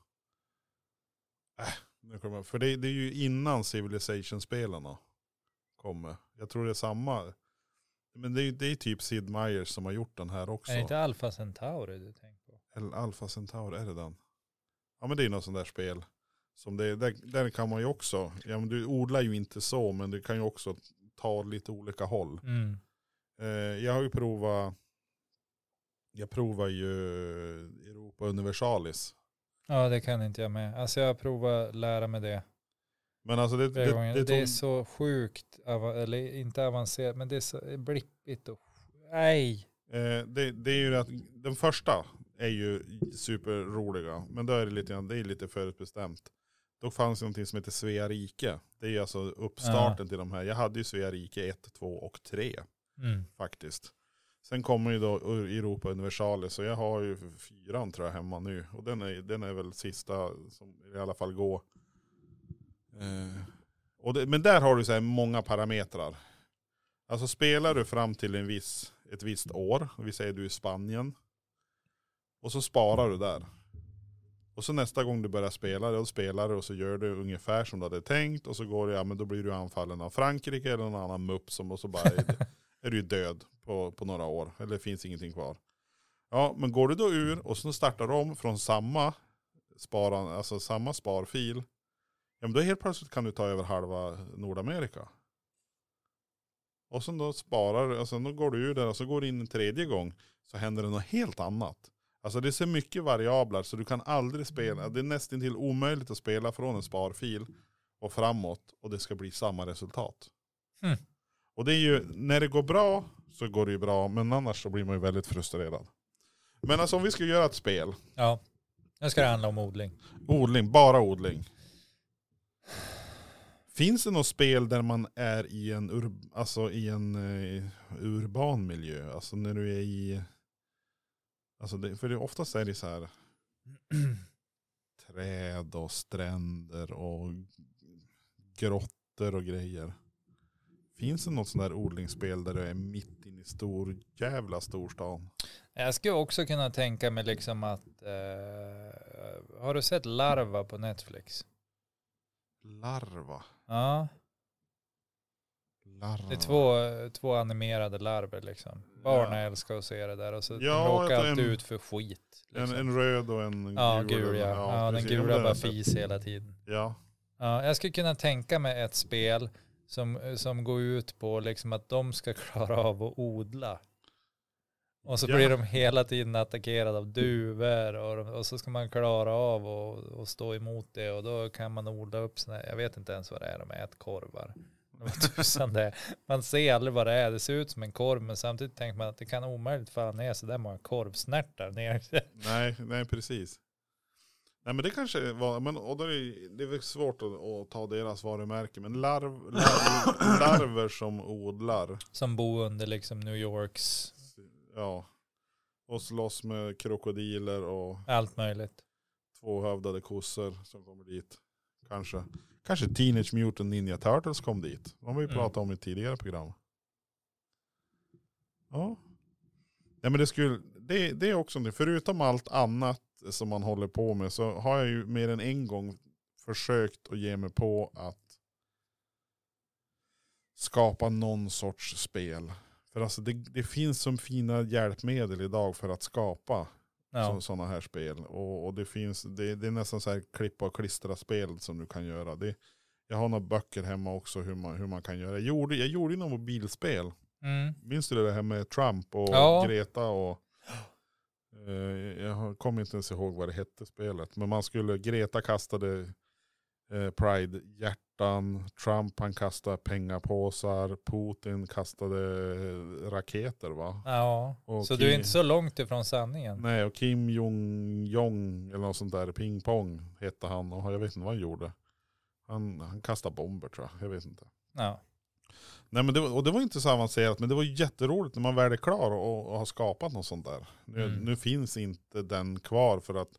Speaker 1: Äh, nu kommer jag, för det, det är ju innan Civilization-spelarna kommer. Jag tror det är samma. Men det är, det är typ Sid Meier som har gjort den här också.
Speaker 2: Är det inte Alpha Centauri du tänker på?
Speaker 1: Eller Alpha Centaur, är det den? Ja men det är något sånt där spel. Som det, där, där kan man ju också, ja men du odlar ju inte så men du kan ju också ta lite olika håll.
Speaker 2: Mm.
Speaker 1: Eh, jag har ju provat, jag provar ju Europa Universalis.
Speaker 2: Ja det kan inte jag med. Alltså jag har provat lära mig det
Speaker 1: Men alltså det, det,
Speaker 2: flera
Speaker 1: det,
Speaker 2: gånger. Det, är
Speaker 1: tog-
Speaker 2: så sjukt, ava- eller inte avancerat men det är så blippigt och nej.
Speaker 1: Eh, det, det är ju att den första är ju superroliga. Men då är det lite, grann- det är lite förutbestämt. Då fanns det någonting som heter Svea rike. Det är ju alltså uppstarten till de här. Jag hade ju Svea rike 1, 2 och 3
Speaker 2: Mm.
Speaker 1: faktiskt. Sen kommer ju då Europa Universalis så jag har ju fyran tror jag hemma nu. Och den är, den är väl sista som i alla fall går. Eh, och det, men där har du så här många parametrar. Alltså spelar du fram till en viss, ett visst år, och vi säger du är i Spanien. Och så sparar du där. Och så nästa gång du börjar spela, då spelar du och så gör du ungefär som du hade tänkt. Och så går det, ja men då blir du anfallen av Frankrike eller någon annan mupp som och så bara är du ju död på, på några år. Eller finns ingenting kvar. Ja, men går du då ur och så startar du om från samma, sparan, alltså samma sparfil. Ja, men då helt plötsligt kan du ta över halva Nordamerika. Och sen då sparar du, och sen då går du ur där och så går du in en tredje gång. Så händer det något helt annat. Alltså det är så mycket variabler så du kan aldrig spela. Det är nästan till omöjligt att spela från en sparfil och framåt och det ska bli samma resultat.
Speaker 2: Hmm.
Speaker 1: Och det är ju, när det går bra så går det ju bra, men annars så blir man ju väldigt frustrerad. Men alltså om vi ska göra ett spel,
Speaker 2: Ja. Nu ska det handla om odling.
Speaker 1: odling, bara odling. Finns det något spel där man är i en, ur, alltså i en eh, urban miljö? Alltså när du är i, alltså det, för det oftast är det så här träd och stränder och grottor och grejer. Finns det något sånt där odlingsspel där du är mitt inne i stor jävla storstan?
Speaker 2: Jag skulle också kunna tänka mig liksom att, eh, har du sett Larva på Netflix?
Speaker 1: Larva.
Speaker 2: Ja,
Speaker 1: Larva.
Speaker 2: det är två, två animerade larver liksom. Barnen älskar att se det där och så
Speaker 1: Ja,
Speaker 2: de råkar
Speaker 1: jag tar
Speaker 2: alltid
Speaker 1: en-
Speaker 2: ut för skit.
Speaker 1: En,
Speaker 2: Liksom.
Speaker 1: en röd och en
Speaker 2: ja,
Speaker 1: gul.
Speaker 2: gul ja. ja, den
Speaker 1: precis. men
Speaker 2: gula
Speaker 1: det har
Speaker 2: bara
Speaker 1: jag sett.
Speaker 2: fis hela tiden.
Speaker 1: Ja.
Speaker 2: Ja, jag skulle kunna tänka mig ett spel som, som går ut på liksom att de ska klara av att odla. Och så
Speaker 1: Ja.
Speaker 2: blir de hela tiden attackerade av duvor och, de- och så ska man klara av och, och stå emot det och då kan man odla upp såna här, jag vet inte ens vad det är, de äter korvar. Vad tusan det är. Man ser aldrig vad det är, det ser ut som en korv men samtidigt tänker man att det kan omöjligt falla ner så där många korvsnärtar ner.
Speaker 1: Nej, nej precis. Nej men det kanske var, men, och då är det, det är väl svårt att, att ta deras varumärke. Men larv, larv, larver som odlar,
Speaker 2: Som bor under liksom New Yorks,
Speaker 1: ja. Och slåss med krokodiler och
Speaker 2: allt möjligt.
Speaker 1: tvåhövdade kossor som kommer dit. Kanske. Kanske Teenage Mutant Ninja Turtles kom dit. De har vi
Speaker 2: Mm.
Speaker 1: pratat om i tidigare program. Ja. Nej men det skulle, det, det är också det. Förutom allt annat som man håller på med så har jag ju mer än en gång försökt att ge mig på att skapa någon sorts spel. För alltså det, det finns som fina hjälpmedel idag för att skapa
Speaker 2: Ja.
Speaker 1: som sådana här spel. Och, och det finns, det, det är nästan så här klippa och klistra spel som du kan göra. Det, jag har några böcker hemma också hur man, hur man kan göra. Jag gjorde, jag gjorde ju något mobilspel.
Speaker 2: Mm.
Speaker 1: Minns du det här med Trump och
Speaker 2: Ja.
Speaker 1: Greta och eh, jag har- kommer inte ens ihåg vad det hette spelet. Men man skulle, Greta kastade eh, Pride-hjärtan, Trump han kastade pengapåsar, Putin kastade eh, raketer va?
Speaker 2: Ja,
Speaker 1: Och
Speaker 2: så du är
Speaker 1: Kim-
Speaker 2: inte så långt ifrån sanningen.
Speaker 1: Nej, och Kim Jong-Jong eller något sånt där, Ping Pong hette han och jag vet inte vad han gjorde. Han, han kastade bomber tror jag, jag vet inte.
Speaker 2: Ja.
Speaker 1: Nej, men det, var- och det var inte så avancerat, men det var jätteroligt när man väl är klar och, och har skapat något sånt där. Nu,
Speaker 2: Mm.
Speaker 1: nu finns inte den kvar för att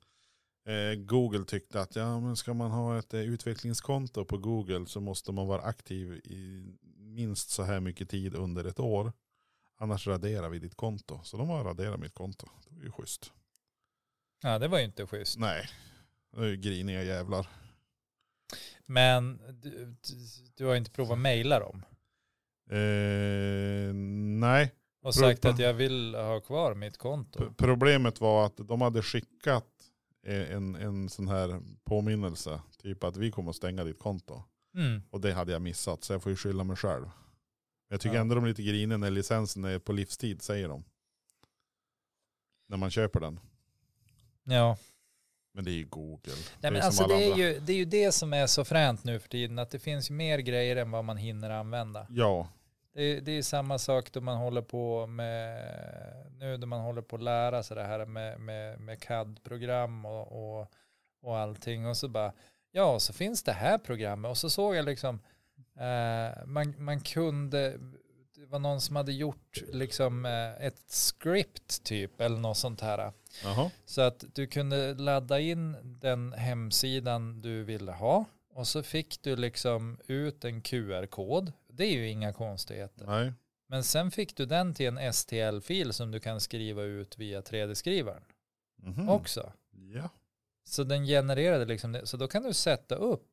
Speaker 1: eh, Google tyckte att ja, men ska man ha ett eh, utvecklingskonto på Google så måste man vara aktiv i minst så här mycket tid under ett år. Annars raderar vi ditt konto. Så de har raderat mitt konto. Det var ju schysst.
Speaker 2: Ja, det var ju inte schysst.
Speaker 1: Nej, det är ju griniga jävlar.
Speaker 2: Men du, du- du har inte provat mejla dem
Speaker 1: Eh, nej,
Speaker 2: och sagt
Speaker 1: Prova.
Speaker 2: att jag vill ha kvar mitt konto.
Speaker 1: P- Problemet var att de hade skickat eh, en, en sån här påminnelse. Typ att vi kommer att stänga ditt konto.
Speaker 2: Mm.
Speaker 1: Och det hade jag missat. Så jag får ju skylla mig själv. Men Jag tycker
Speaker 2: Ja.
Speaker 1: ändå de är lite griniga när licensen är på livstid säger de. När man köper den.
Speaker 2: Ja.
Speaker 1: Men det är ju Google.
Speaker 2: Nej, men
Speaker 1: som
Speaker 2: alltså,
Speaker 1: alla
Speaker 2: det, är
Speaker 1: andra.
Speaker 2: ju, det är ju det som är så fränt nu för tiden, att det finns ju mer grejer än vad man hinner använda.
Speaker 1: Ja,
Speaker 2: Det, är- det är samma sak då man håller på med, nu då man håller på att lära sig det här med, med, med CAD-program och, och, och allting och så bara, ja så finns det här programmet och så såg jag liksom, eh, man, man kunde, det var någon som hade gjort liksom eh, ett script typ eller något sånt här.
Speaker 1: jaha.
Speaker 2: Så att du kunde ladda in den hemsidan du ville ha och så fick du liksom ut en QR-kod. Det är ju inga konstigheter.
Speaker 1: Nej.
Speaker 2: Men sen fick du den till en STL-fil som du kan skriva ut via 3D-skrivaren
Speaker 1: Mhm.
Speaker 2: också.
Speaker 1: Ja.
Speaker 2: Så den genererade liksom det. Så då kan du sätta upp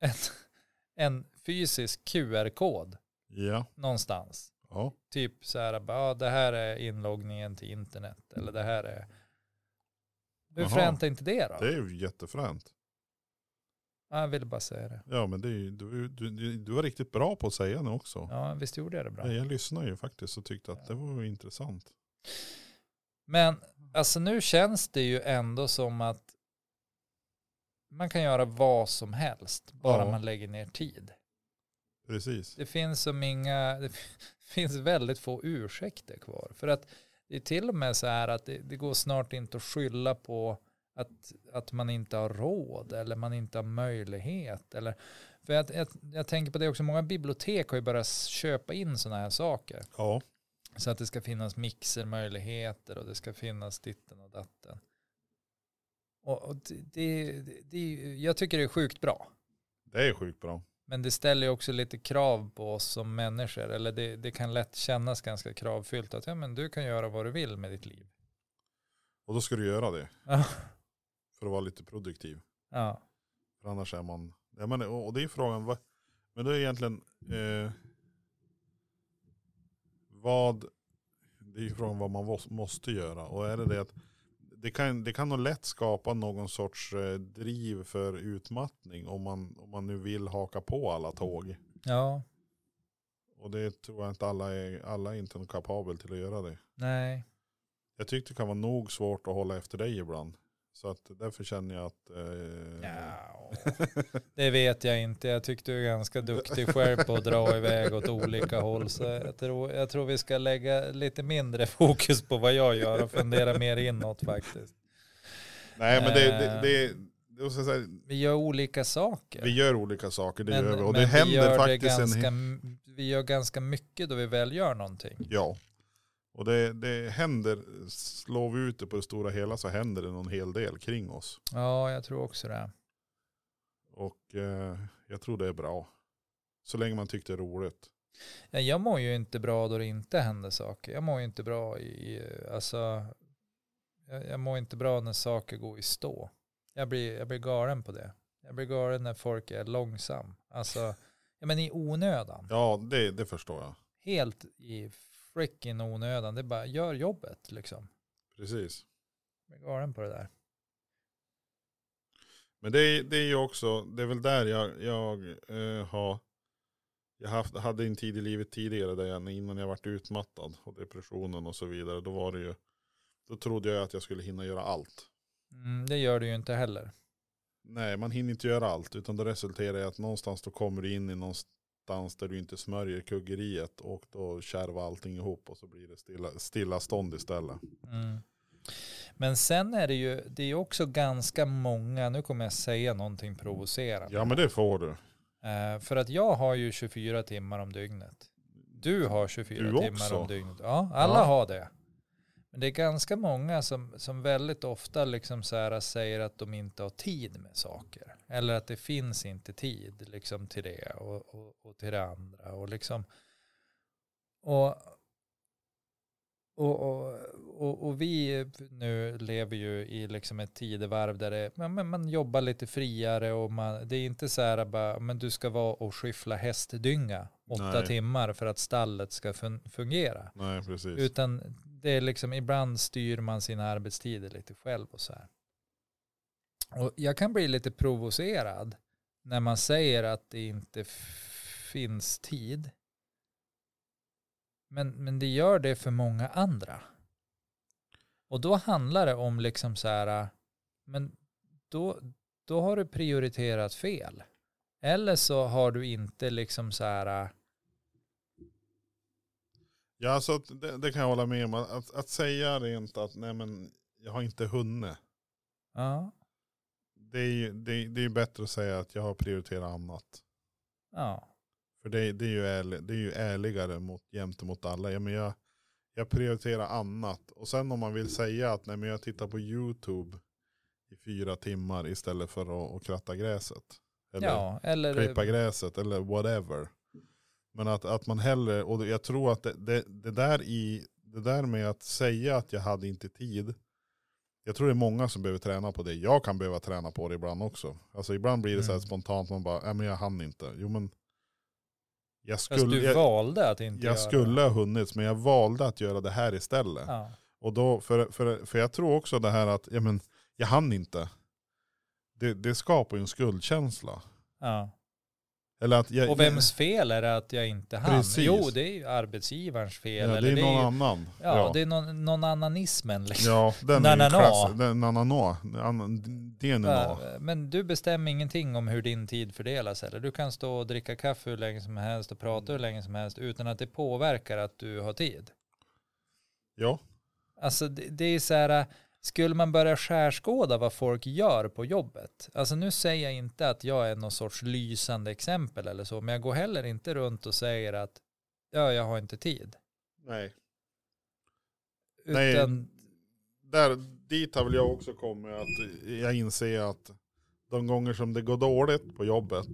Speaker 2: en, en fysisk QR-kod
Speaker 1: Ja.
Speaker 2: någonstans.
Speaker 1: Ja.
Speaker 2: Typ så här, bara, ja, det här är inloggningen till internet eller det här är... Hur
Speaker 1: Jaha.
Speaker 2: fränt är inte det då?
Speaker 1: Det är ju jättefränt.
Speaker 2: Ja, jag ville bara säga det.
Speaker 1: Ja men det är ju, du, du, du, du var riktigt bra på att säga det också.
Speaker 2: Ja, visst gjorde jag det bra.
Speaker 1: Ja. Jag lyssnade ju faktiskt och tyckte att det var ju intressant.
Speaker 2: Men alltså nu känns det ju ändå som att man kan göra vad som helst, bara
Speaker 1: Ja.
Speaker 2: man lägger ner tid.
Speaker 1: Precis.
Speaker 2: Det finns som inga, det finns väldigt få ursäkter kvar. För att det är till och med så här att det, det går snart inte att skylla på att, att man inte har råd eller man inte har möjlighet. Eller, för att, jag, jag tänker på det också, många bibliotek har ju börjat köpa in sådana här saker.
Speaker 1: Ja.
Speaker 2: Så att det ska finnas mixermöjligheter och det ska finnas ditten och datten. Och, och det, det, det, det, jag tycker det är sjukt bra.
Speaker 1: Det är sjukt bra.
Speaker 2: Men det ställer ju också lite krav på oss som människor. Eller det, det kan lätt kännas ganska kravfyllt att ja, men du kan göra vad du vill med ditt liv.
Speaker 1: Och då ska du göra det
Speaker 2: Ja.
Speaker 1: för att vara lite produktiv.
Speaker 2: Ja.
Speaker 1: För annars är man... Ja, men, och och det är frågan, vad, men det är egentligen... Eh, vad... Det är ju frågan vad man vås- måste göra. Och är det det att... Det kan, det kan nog lätt skapa någon sorts eh, driv för utmattning om man, om man nu vill haka på alla tåg.
Speaker 2: ja,
Speaker 1: Och det tror jag inte alla är, alla är inte kapabel till att göra det.
Speaker 2: nej.
Speaker 1: Jag tycker det kan vara nog svårt att hålla efter dig ibland. Så att därför känner jag att... Eh,
Speaker 2: Ja. Det vet jag inte. Jag tyckte du är ganska duktig själv på att dra iväg åt olika håll. Så jag tror, jag tror vi ska lägga lite mindre fokus på vad jag gör och fundera mer inåt faktiskt.
Speaker 1: Nej men det, det,
Speaker 2: Eh.
Speaker 1: det, det, jag ska säga,
Speaker 2: Vi gör olika saker.
Speaker 1: vi gör olika saker, det gör vi. Och det
Speaker 2: men
Speaker 1: händer
Speaker 2: vi gör
Speaker 1: faktiskt
Speaker 2: det
Speaker 1: en
Speaker 2: ganska,
Speaker 1: hel-
Speaker 2: Vi gör ganska mycket då vi väl gör någonting.
Speaker 1: Ja. Och det, det händer, slår vi ut det på det stora hela så händer det någon hel del kring oss.
Speaker 2: Ja, jag tror också det.
Speaker 1: Och eh, jag tror det är bra. Så länge man tyckte det är roligt.
Speaker 2: Ja, Jag mår ju inte bra då det inte händer saker. Jag mår ju inte bra i, i- alltså, jag, jag mår inte bra när saker går i stå. Jag blir, jag blir galen på det. Jag blir galen när folk är långsam. Alltså, ja men i onödan.
Speaker 1: Ja det, det förstår jag.
Speaker 2: Helt i freaking onödan. Det är bara, gör jobbet liksom.
Speaker 1: Precis.
Speaker 2: Jag blir galen på det där.
Speaker 1: Men det, är- det är ju också, det är väl där jag, jag eh, har, jag haft, hade en tid i livet tidigare där jag, innan jag varit utmattad och depressionen och så vidare. Då var det ju, då trodde jag att jag skulle hinna göra allt.
Speaker 2: Mm, det gör du ju inte heller.
Speaker 1: Nej, man hinner inte göra allt utan det resulterar i att någonstans då kommer du in i någonstans där du inte smörjer kuggeriet och då kärvar allting ihop och så blir det stilla, stilla stånd istället.
Speaker 2: Mm. Men sen är det ju, det är ju också ganska många, nu kommer jag säga någonting provocerande.
Speaker 1: Ja men det får du.
Speaker 2: Eh, för att jag har ju 24 timmar om dygnet. Du har 24
Speaker 1: Du
Speaker 2: timmar
Speaker 1: också?
Speaker 2: om dygnet. Ja, alla
Speaker 1: Ja.
Speaker 2: har det. Men det är ganska många som, som väldigt ofta liksom så här säger att de inte har tid med saker. Eller att det finns inte tid liksom till det och, och, och till det andra. Och, liksom, och, och, och, och, och vi nu lever ju i liksom ett tidevarv där det, ja, men man jobbar lite friare och man, det är inte så här bara, men du ska vara och skyffla hästdynga åtta
Speaker 1: Nej.
Speaker 2: timmar för att stallet ska fun- fungera.
Speaker 1: Nej, precis.
Speaker 2: Utan det är liksom, ibland styr man sina arbetstider lite själv och så här. Och jag kan bli lite provocerad när man säger att det inte f- finns tid. Men, men det gör det för många andra. Och då handlar det om liksom så här, men då, då har du prioriterat fel. Eller så har du inte liksom så här,
Speaker 1: Ja, så att det, det kan jag hålla med om. Att, att säga rent att nej men jag har inte hunnit.
Speaker 2: ja,
Speaker 1: Det är ju det, det är ju bättre att säga att jag har prioriterat annat.
Speaker 2: ja,
Speaker 1: För det, det, är, ju ärlig, det är ju ärligare mot, gentemot alla. Ja, men jag, jag prioriterar annat. Och sen om man vill säga att nej men jag tittar på YouTube i fyra timmar istället för att, att kratta gräset. Eller
Speaker 2: ja, eller
Speaker 1: klippa gräset eller whatever. Men att, att man hellre, och jag tror att det, det, det, där i, det där med att säga att jag hade inte tid. Jag tror det är många som behöver träna på det. Jag kan behöva träna på det ibland också. Alltså ibland blir det så här
Speaker 2: Mm.
Speaker 1: spontant, man bara, nej men jag hann inte. Jo men, jag
Speaker 2: Fast
Speaker 1: skulle,
Speaker 2: Alltså, du
Speaker 1: jag,
Speaker 2: valde att inte
Speaker 1: jag
Speaker 2: göra
Speaker 1: skulle ha hunnit, men jag valde att göra det här istället.
Speaker 2: Ja.
Speaker 1: Och då, för, för, för jag tror också det här att, ja men, jag hann inte. Det, det skapar ju en skuldkänsla.
Speaker 2: Ja.
Speaker 1: Eller att jag,
Speaker 2: Och vems fel är det att jag inte hann?
Speaker 1: Precis.
Speaker 2: Jo, det är ju arbetsgivarens fel.
Speaker 1: Ja, det
Speaker 2: eller
Speaker 1: är någon
Speaker 2: ju-
Speaker 1: annan.
Speaker 2: Ja, det är någon, någon annanismen. Liksom.
Speaker 1: ja den är
Speaker 2: Nanana.
Speaker 1: ju klass. Den- Nanana. An- DNA.
Speaker 2: Äh, Men du bestämmer ingenting om hur din tid fördelas. Eller? Du kan stå och dricka kaffe hur länge som helst och prata hur länge som helst utan att det påverkar att du har tid.
Speaker 1: Ja,
Speaker 2: Alltså det, det är så här, skulle man börja skärskåda vad folk gör på jobbet? Alltså nu säger jag inte att jag är någon sorts lysande exempel eller så, men jag går heller inte runt och säger att ja, jag har inte tid.
Speaker 1: nej. Nej.
Speaker 2: Utan,
Speaker 1: Där, dit har väl jag också kommit att jag inser att de gånger som det går dåligt på jobbet,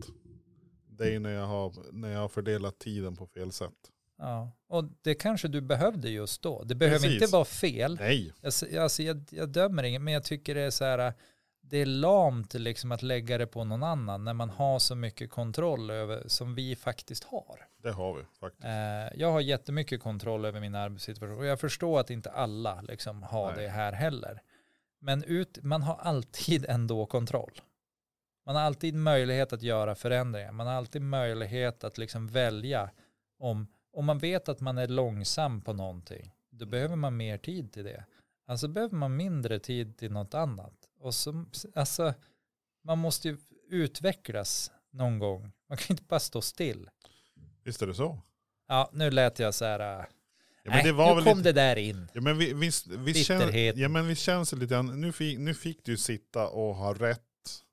Speaker 1: det är när jag har, när jag har fördelat tiden på fel sätt.
Speaker 2: ja. Och det kanske du behövde just då. Det behöver
Speaker 1: Precis.
Speaker 2: inte vara fel.
Speaker 1: Nej,
Speaker 2: Jag, s- alltså jag, jag dömer ingen, men jag tycker det är så här, äh, det är lamt liksom att lägga det på någon annan när man har så mycket kontroll över, som vi faktiskt har.
Speaker 1: det har vi faktiskt.
Speaker 2: Eh, Jag har jättemycket kontroll över min arbetssituation och jag förstår att inte alla liksom har
Speaker 1: Nej.
Speaker 2: det här heller. Men ut, man har alltid ändå kontroll. Man har alltid möjlighet att göra förändringar. Man har alltid möjlighet att liksom välja om, om man vet att man är långsam på någonting. Då
Speaker 1: Mm.
Speaker 2: behöver man mer tid till det. Alltså behöver man mindre tid till något annat. Och så, alltså, man måste ju utvecklas någon gång. Man kan inte bara stå still.
Speaker 1: Visst är det så?
Speaker 2: Ja, nu lät jag så här. äh,
Speaker 1: Ja,
Speaker 2: nej,
Speaker 1: det var
Speaker 2: nu
Speaker 1: väl
Speaker 2: kom
Speaker 1: lite-
Speaker 2: det där in.
Speaker 1: Ja men vi, visst, visst, känns,
Speaker 2: Bitterhet.
Speaker 1: ja, men visst känns det lite grann, nu fick, nu fick du sitta och ha rätt.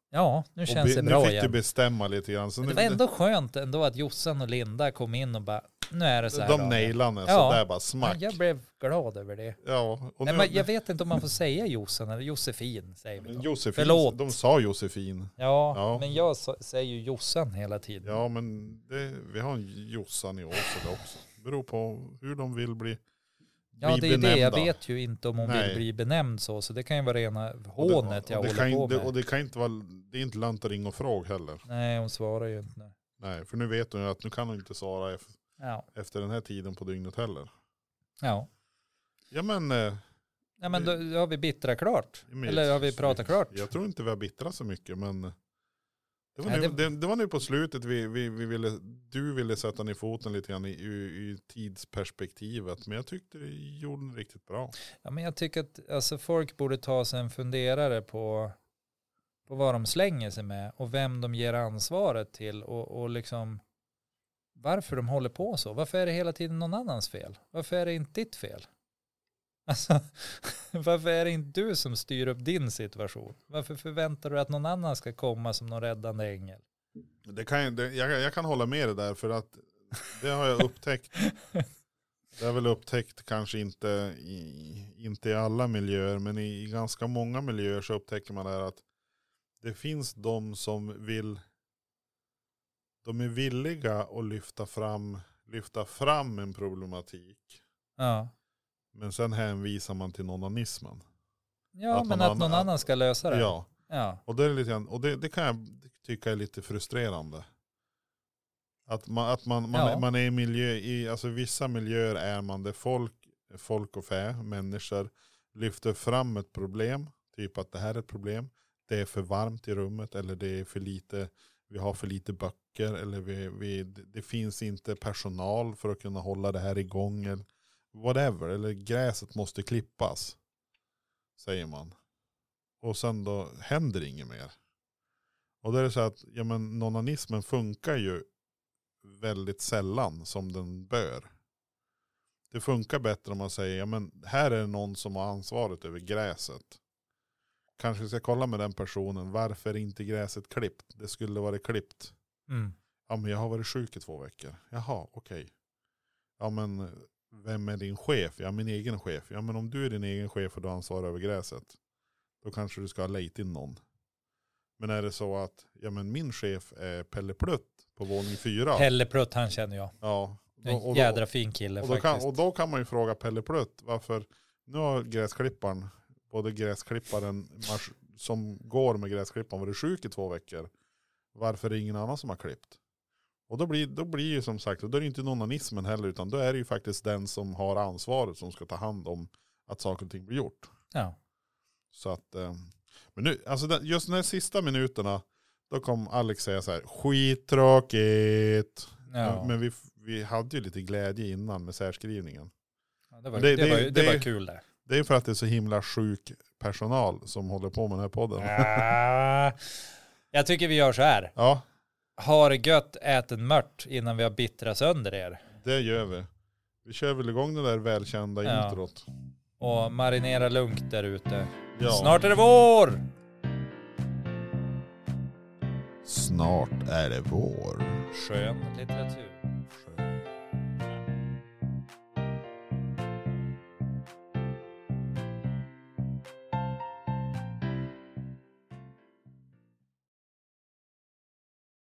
Speaker 2: Ja, nu
Speaker 1: Och
Speaker 2: känns
Speaker 1: be-
Speaker 2: det
Speaker 1: nu
Speaker 2: bra
Speaker 1: fick du
Speaker 2: igen.
Speaker 1: bestämma lite grann. Så
Speaker 2: Men
Speaker 1: nu,
Speaker 2: det var ändå skönt ändå att Jossan och Linda kom in och bara, nu är det så här.
Speaker 1: De
Speaker 2: då.
Speaker 1: nailarna
Speaker 2: Ja.
Speaker 1: sådär bara
Speaker 2: Ja,
Speaker 1: smack.
Speaker 2: Jag blev glad över det.
Speaker 1: Ja, och
Speaker 2: Nej,
Speaker 1: nu,
Speaker 2: men jag vet inte om man får säga Jossan eller Josefin säger vi
Speaker 1: men
Speaker 2: då.
Speaker 1: Josefin,
Speaker 2: Förlåt.
Speaker 1: de sa Josefin.
Speaker 2: Ja,
Speaker 1: Ja.
Speaker 2: men jag så- säger ju Jossan hela tiden.
Speaker 1: Ja, men det, vi har en Jossan i Åsele också. Beror på hur de vill bli,
Speaker 2: Ja,
Speaker 1: bli
Speaker 2: det är ju det. Jag
Speaker 1: benämnda.
Speaker 2: vet ju inte om hon
Speaker 1: Nej.
Speaker 2: vill bli benämnd så, så det kan ju vara rena
Speaker 1: Och det-
Speaker 2: hånet jag
Speaker 1: och det
Speaker 2: håller
Speaker 1: kan
Speaker 2: på
Speaker 1: inte-
Speaker 2: med.
Speaker 1: Och det kan inte vara, det är inte lönt att ringa och fråga heller.
Speaker 2: Nej, hon svarar ju inte. nu.
Speaker 1: Nej, för nu vet hon ju att nu kan hon inte svara ef-
Speaker 2: Ja,
Speaker 1: efter den här tiden på dygnet heller.
Speaker 2: ja.
Speaker 1: Ja, men, eh,
Speaker 2: Ja, men då, då har vi bittra klart.
Speaker 1: men-
Speaker 2: Eller har vi pratat klart?
Speaker 1: Jag tror inte vi har bittrat så mycket, men det var,
Speaker 2: Nej,
Speaker 1: nu,
Speaker 2: det-
Speaker 1: det... Det, var nu på slutet vi, vi, vi ville, du ville sätta ner foten lite grann i, i, i tidsperspektivet. Men jag tyckte det gjorde den riktigt bra.
Speaker 2: Ja, men jag tycker att alltså, folk borde ta sig en funderare på, på vad de slänger sig med och vem de ger ansvaret till och, och liksom varför de håller på så. Varför är det hela tiden någon annans fel? Varför är det inte ditt fel? Alltså, varför är det inte du som styr upp din situation? Varför förväntar du att någon annan ska komma som någon räddande ängel?
Speaker 1: Det kan, ju- det, jag, jag kan hålla med dig där för att det har jag upptäckt. Det har jag väl upptäckt kanske inte i, inte i alla miljöer men i, i ganska många miljöer så upptäcker man där att det finns de som vill de är villiga att lyfta fram, lyfta fram en problematik.
Speaker 2: Ja,
Speaker 1: Men sen hänvisar man till nånanismen.
Speaker 2: ja
Speaker 1: Att
Speaker 2: men
Speaker 1: någon
Speaker 2: att någon
Speaker 1: annan-
Speaker 2: annan ska lösa det.
Speaker 1: Ja,
Speaker 2: ja.
Speaker 1: och, det, är lite grann, och det, det kan jag tycka är lite frustrerande. Att man, att man, man,
Speaker 2: Ja.
Speaker 1: man är i miljö, i alltså vissa miljöer är man där folk, folk och fä, människor, lyfter fram ett problem. Typ att det här är ett problem. Det är för varmt i rummet eller det är för lite, vi har för lite böcker eller vi, vi, det finns inte personal för att kunna hålla det här igång. Eller whatever, eller gräset måste klippas. Säger man. Och sen då händer inget mer. Och då är det så att ja, men nonanismen funkar ju väldigt sällan som den bör. Det funkar bättre om man säger ja, men här är det någon som har ansvaret över gräset. Kanske vi ska kolla med den personen. Varför är inte gräset klippt? Det skulle vara klippt.
Speaker 2: Mm.
Speaker 1: Ja men jag har varit sjuk i två veckor. Jaha, okej. Ja men eh, vem är din chef? Ja min egen chef. Ja men om du är din egen chef och du ansvarar över gräset. Då kanske du ska ha lejt in någon. Men är det så att ja men min chef är Pelle Plutt på våning fyra.
Speaker 2: Pelle Prutt, han känner jag.
Speaker 1: Ja.
Speaker 2: En
Speaker 1: och- och då-
Speaker 2: jädra fin kille
Speaker 1: och då,
Speaker 2: faktiskt.
Speaker 1: kan, och då kan man ju fråga Pelle Plutt varför nu har gräsklipparen, både gräsklipparen mars, som går med gräsklipparen varit sjuk i två veckor. Varför är det ingen annan som har klippt? Och då blir, då blir ju som sagt, och då är det inte nonanismen heller utan då är det ju faktiskt den som har ansvaret som ska ta hand om att saker och ting blir gjort.
Speaker 2: Ja.
Speaker 1: Så att, eh, men nu, alltså den, just de här sista minuterna, då kom Alex säga så här, skittråkigt.
Speaker 2: Ja.
Speaker 1: Men vi, vi hade ju lite glädje innan med särskrivningen.
Speaker 2: Ja, det, var,
Speaker 1: det-
Speaker 2: det,
Speaker 1: det-
Speaker 2: var, det,
Speaker 1: det-
Speaker 2: var kul det.
Speaker 1: Det är för att det är så himla sjuk personal som håller på med den här podden. Ja,
Speaker 2: Ah, jag tycker vi gör så här. Ha det gött, ät en mört innan vi har bittra sönder er.
Speaker 1: det gör vi. Vi kör väl igång det där välkända
Speaker 2: Ja.
Speaker 1: introt.
Speaker 2: Och marinera lugnt där ute.
Speaker 1: Ja.
Speaker 2: Snart är det vår!
Speaker 1: Snart är det vår.
Speaker 2: Skön litteratur.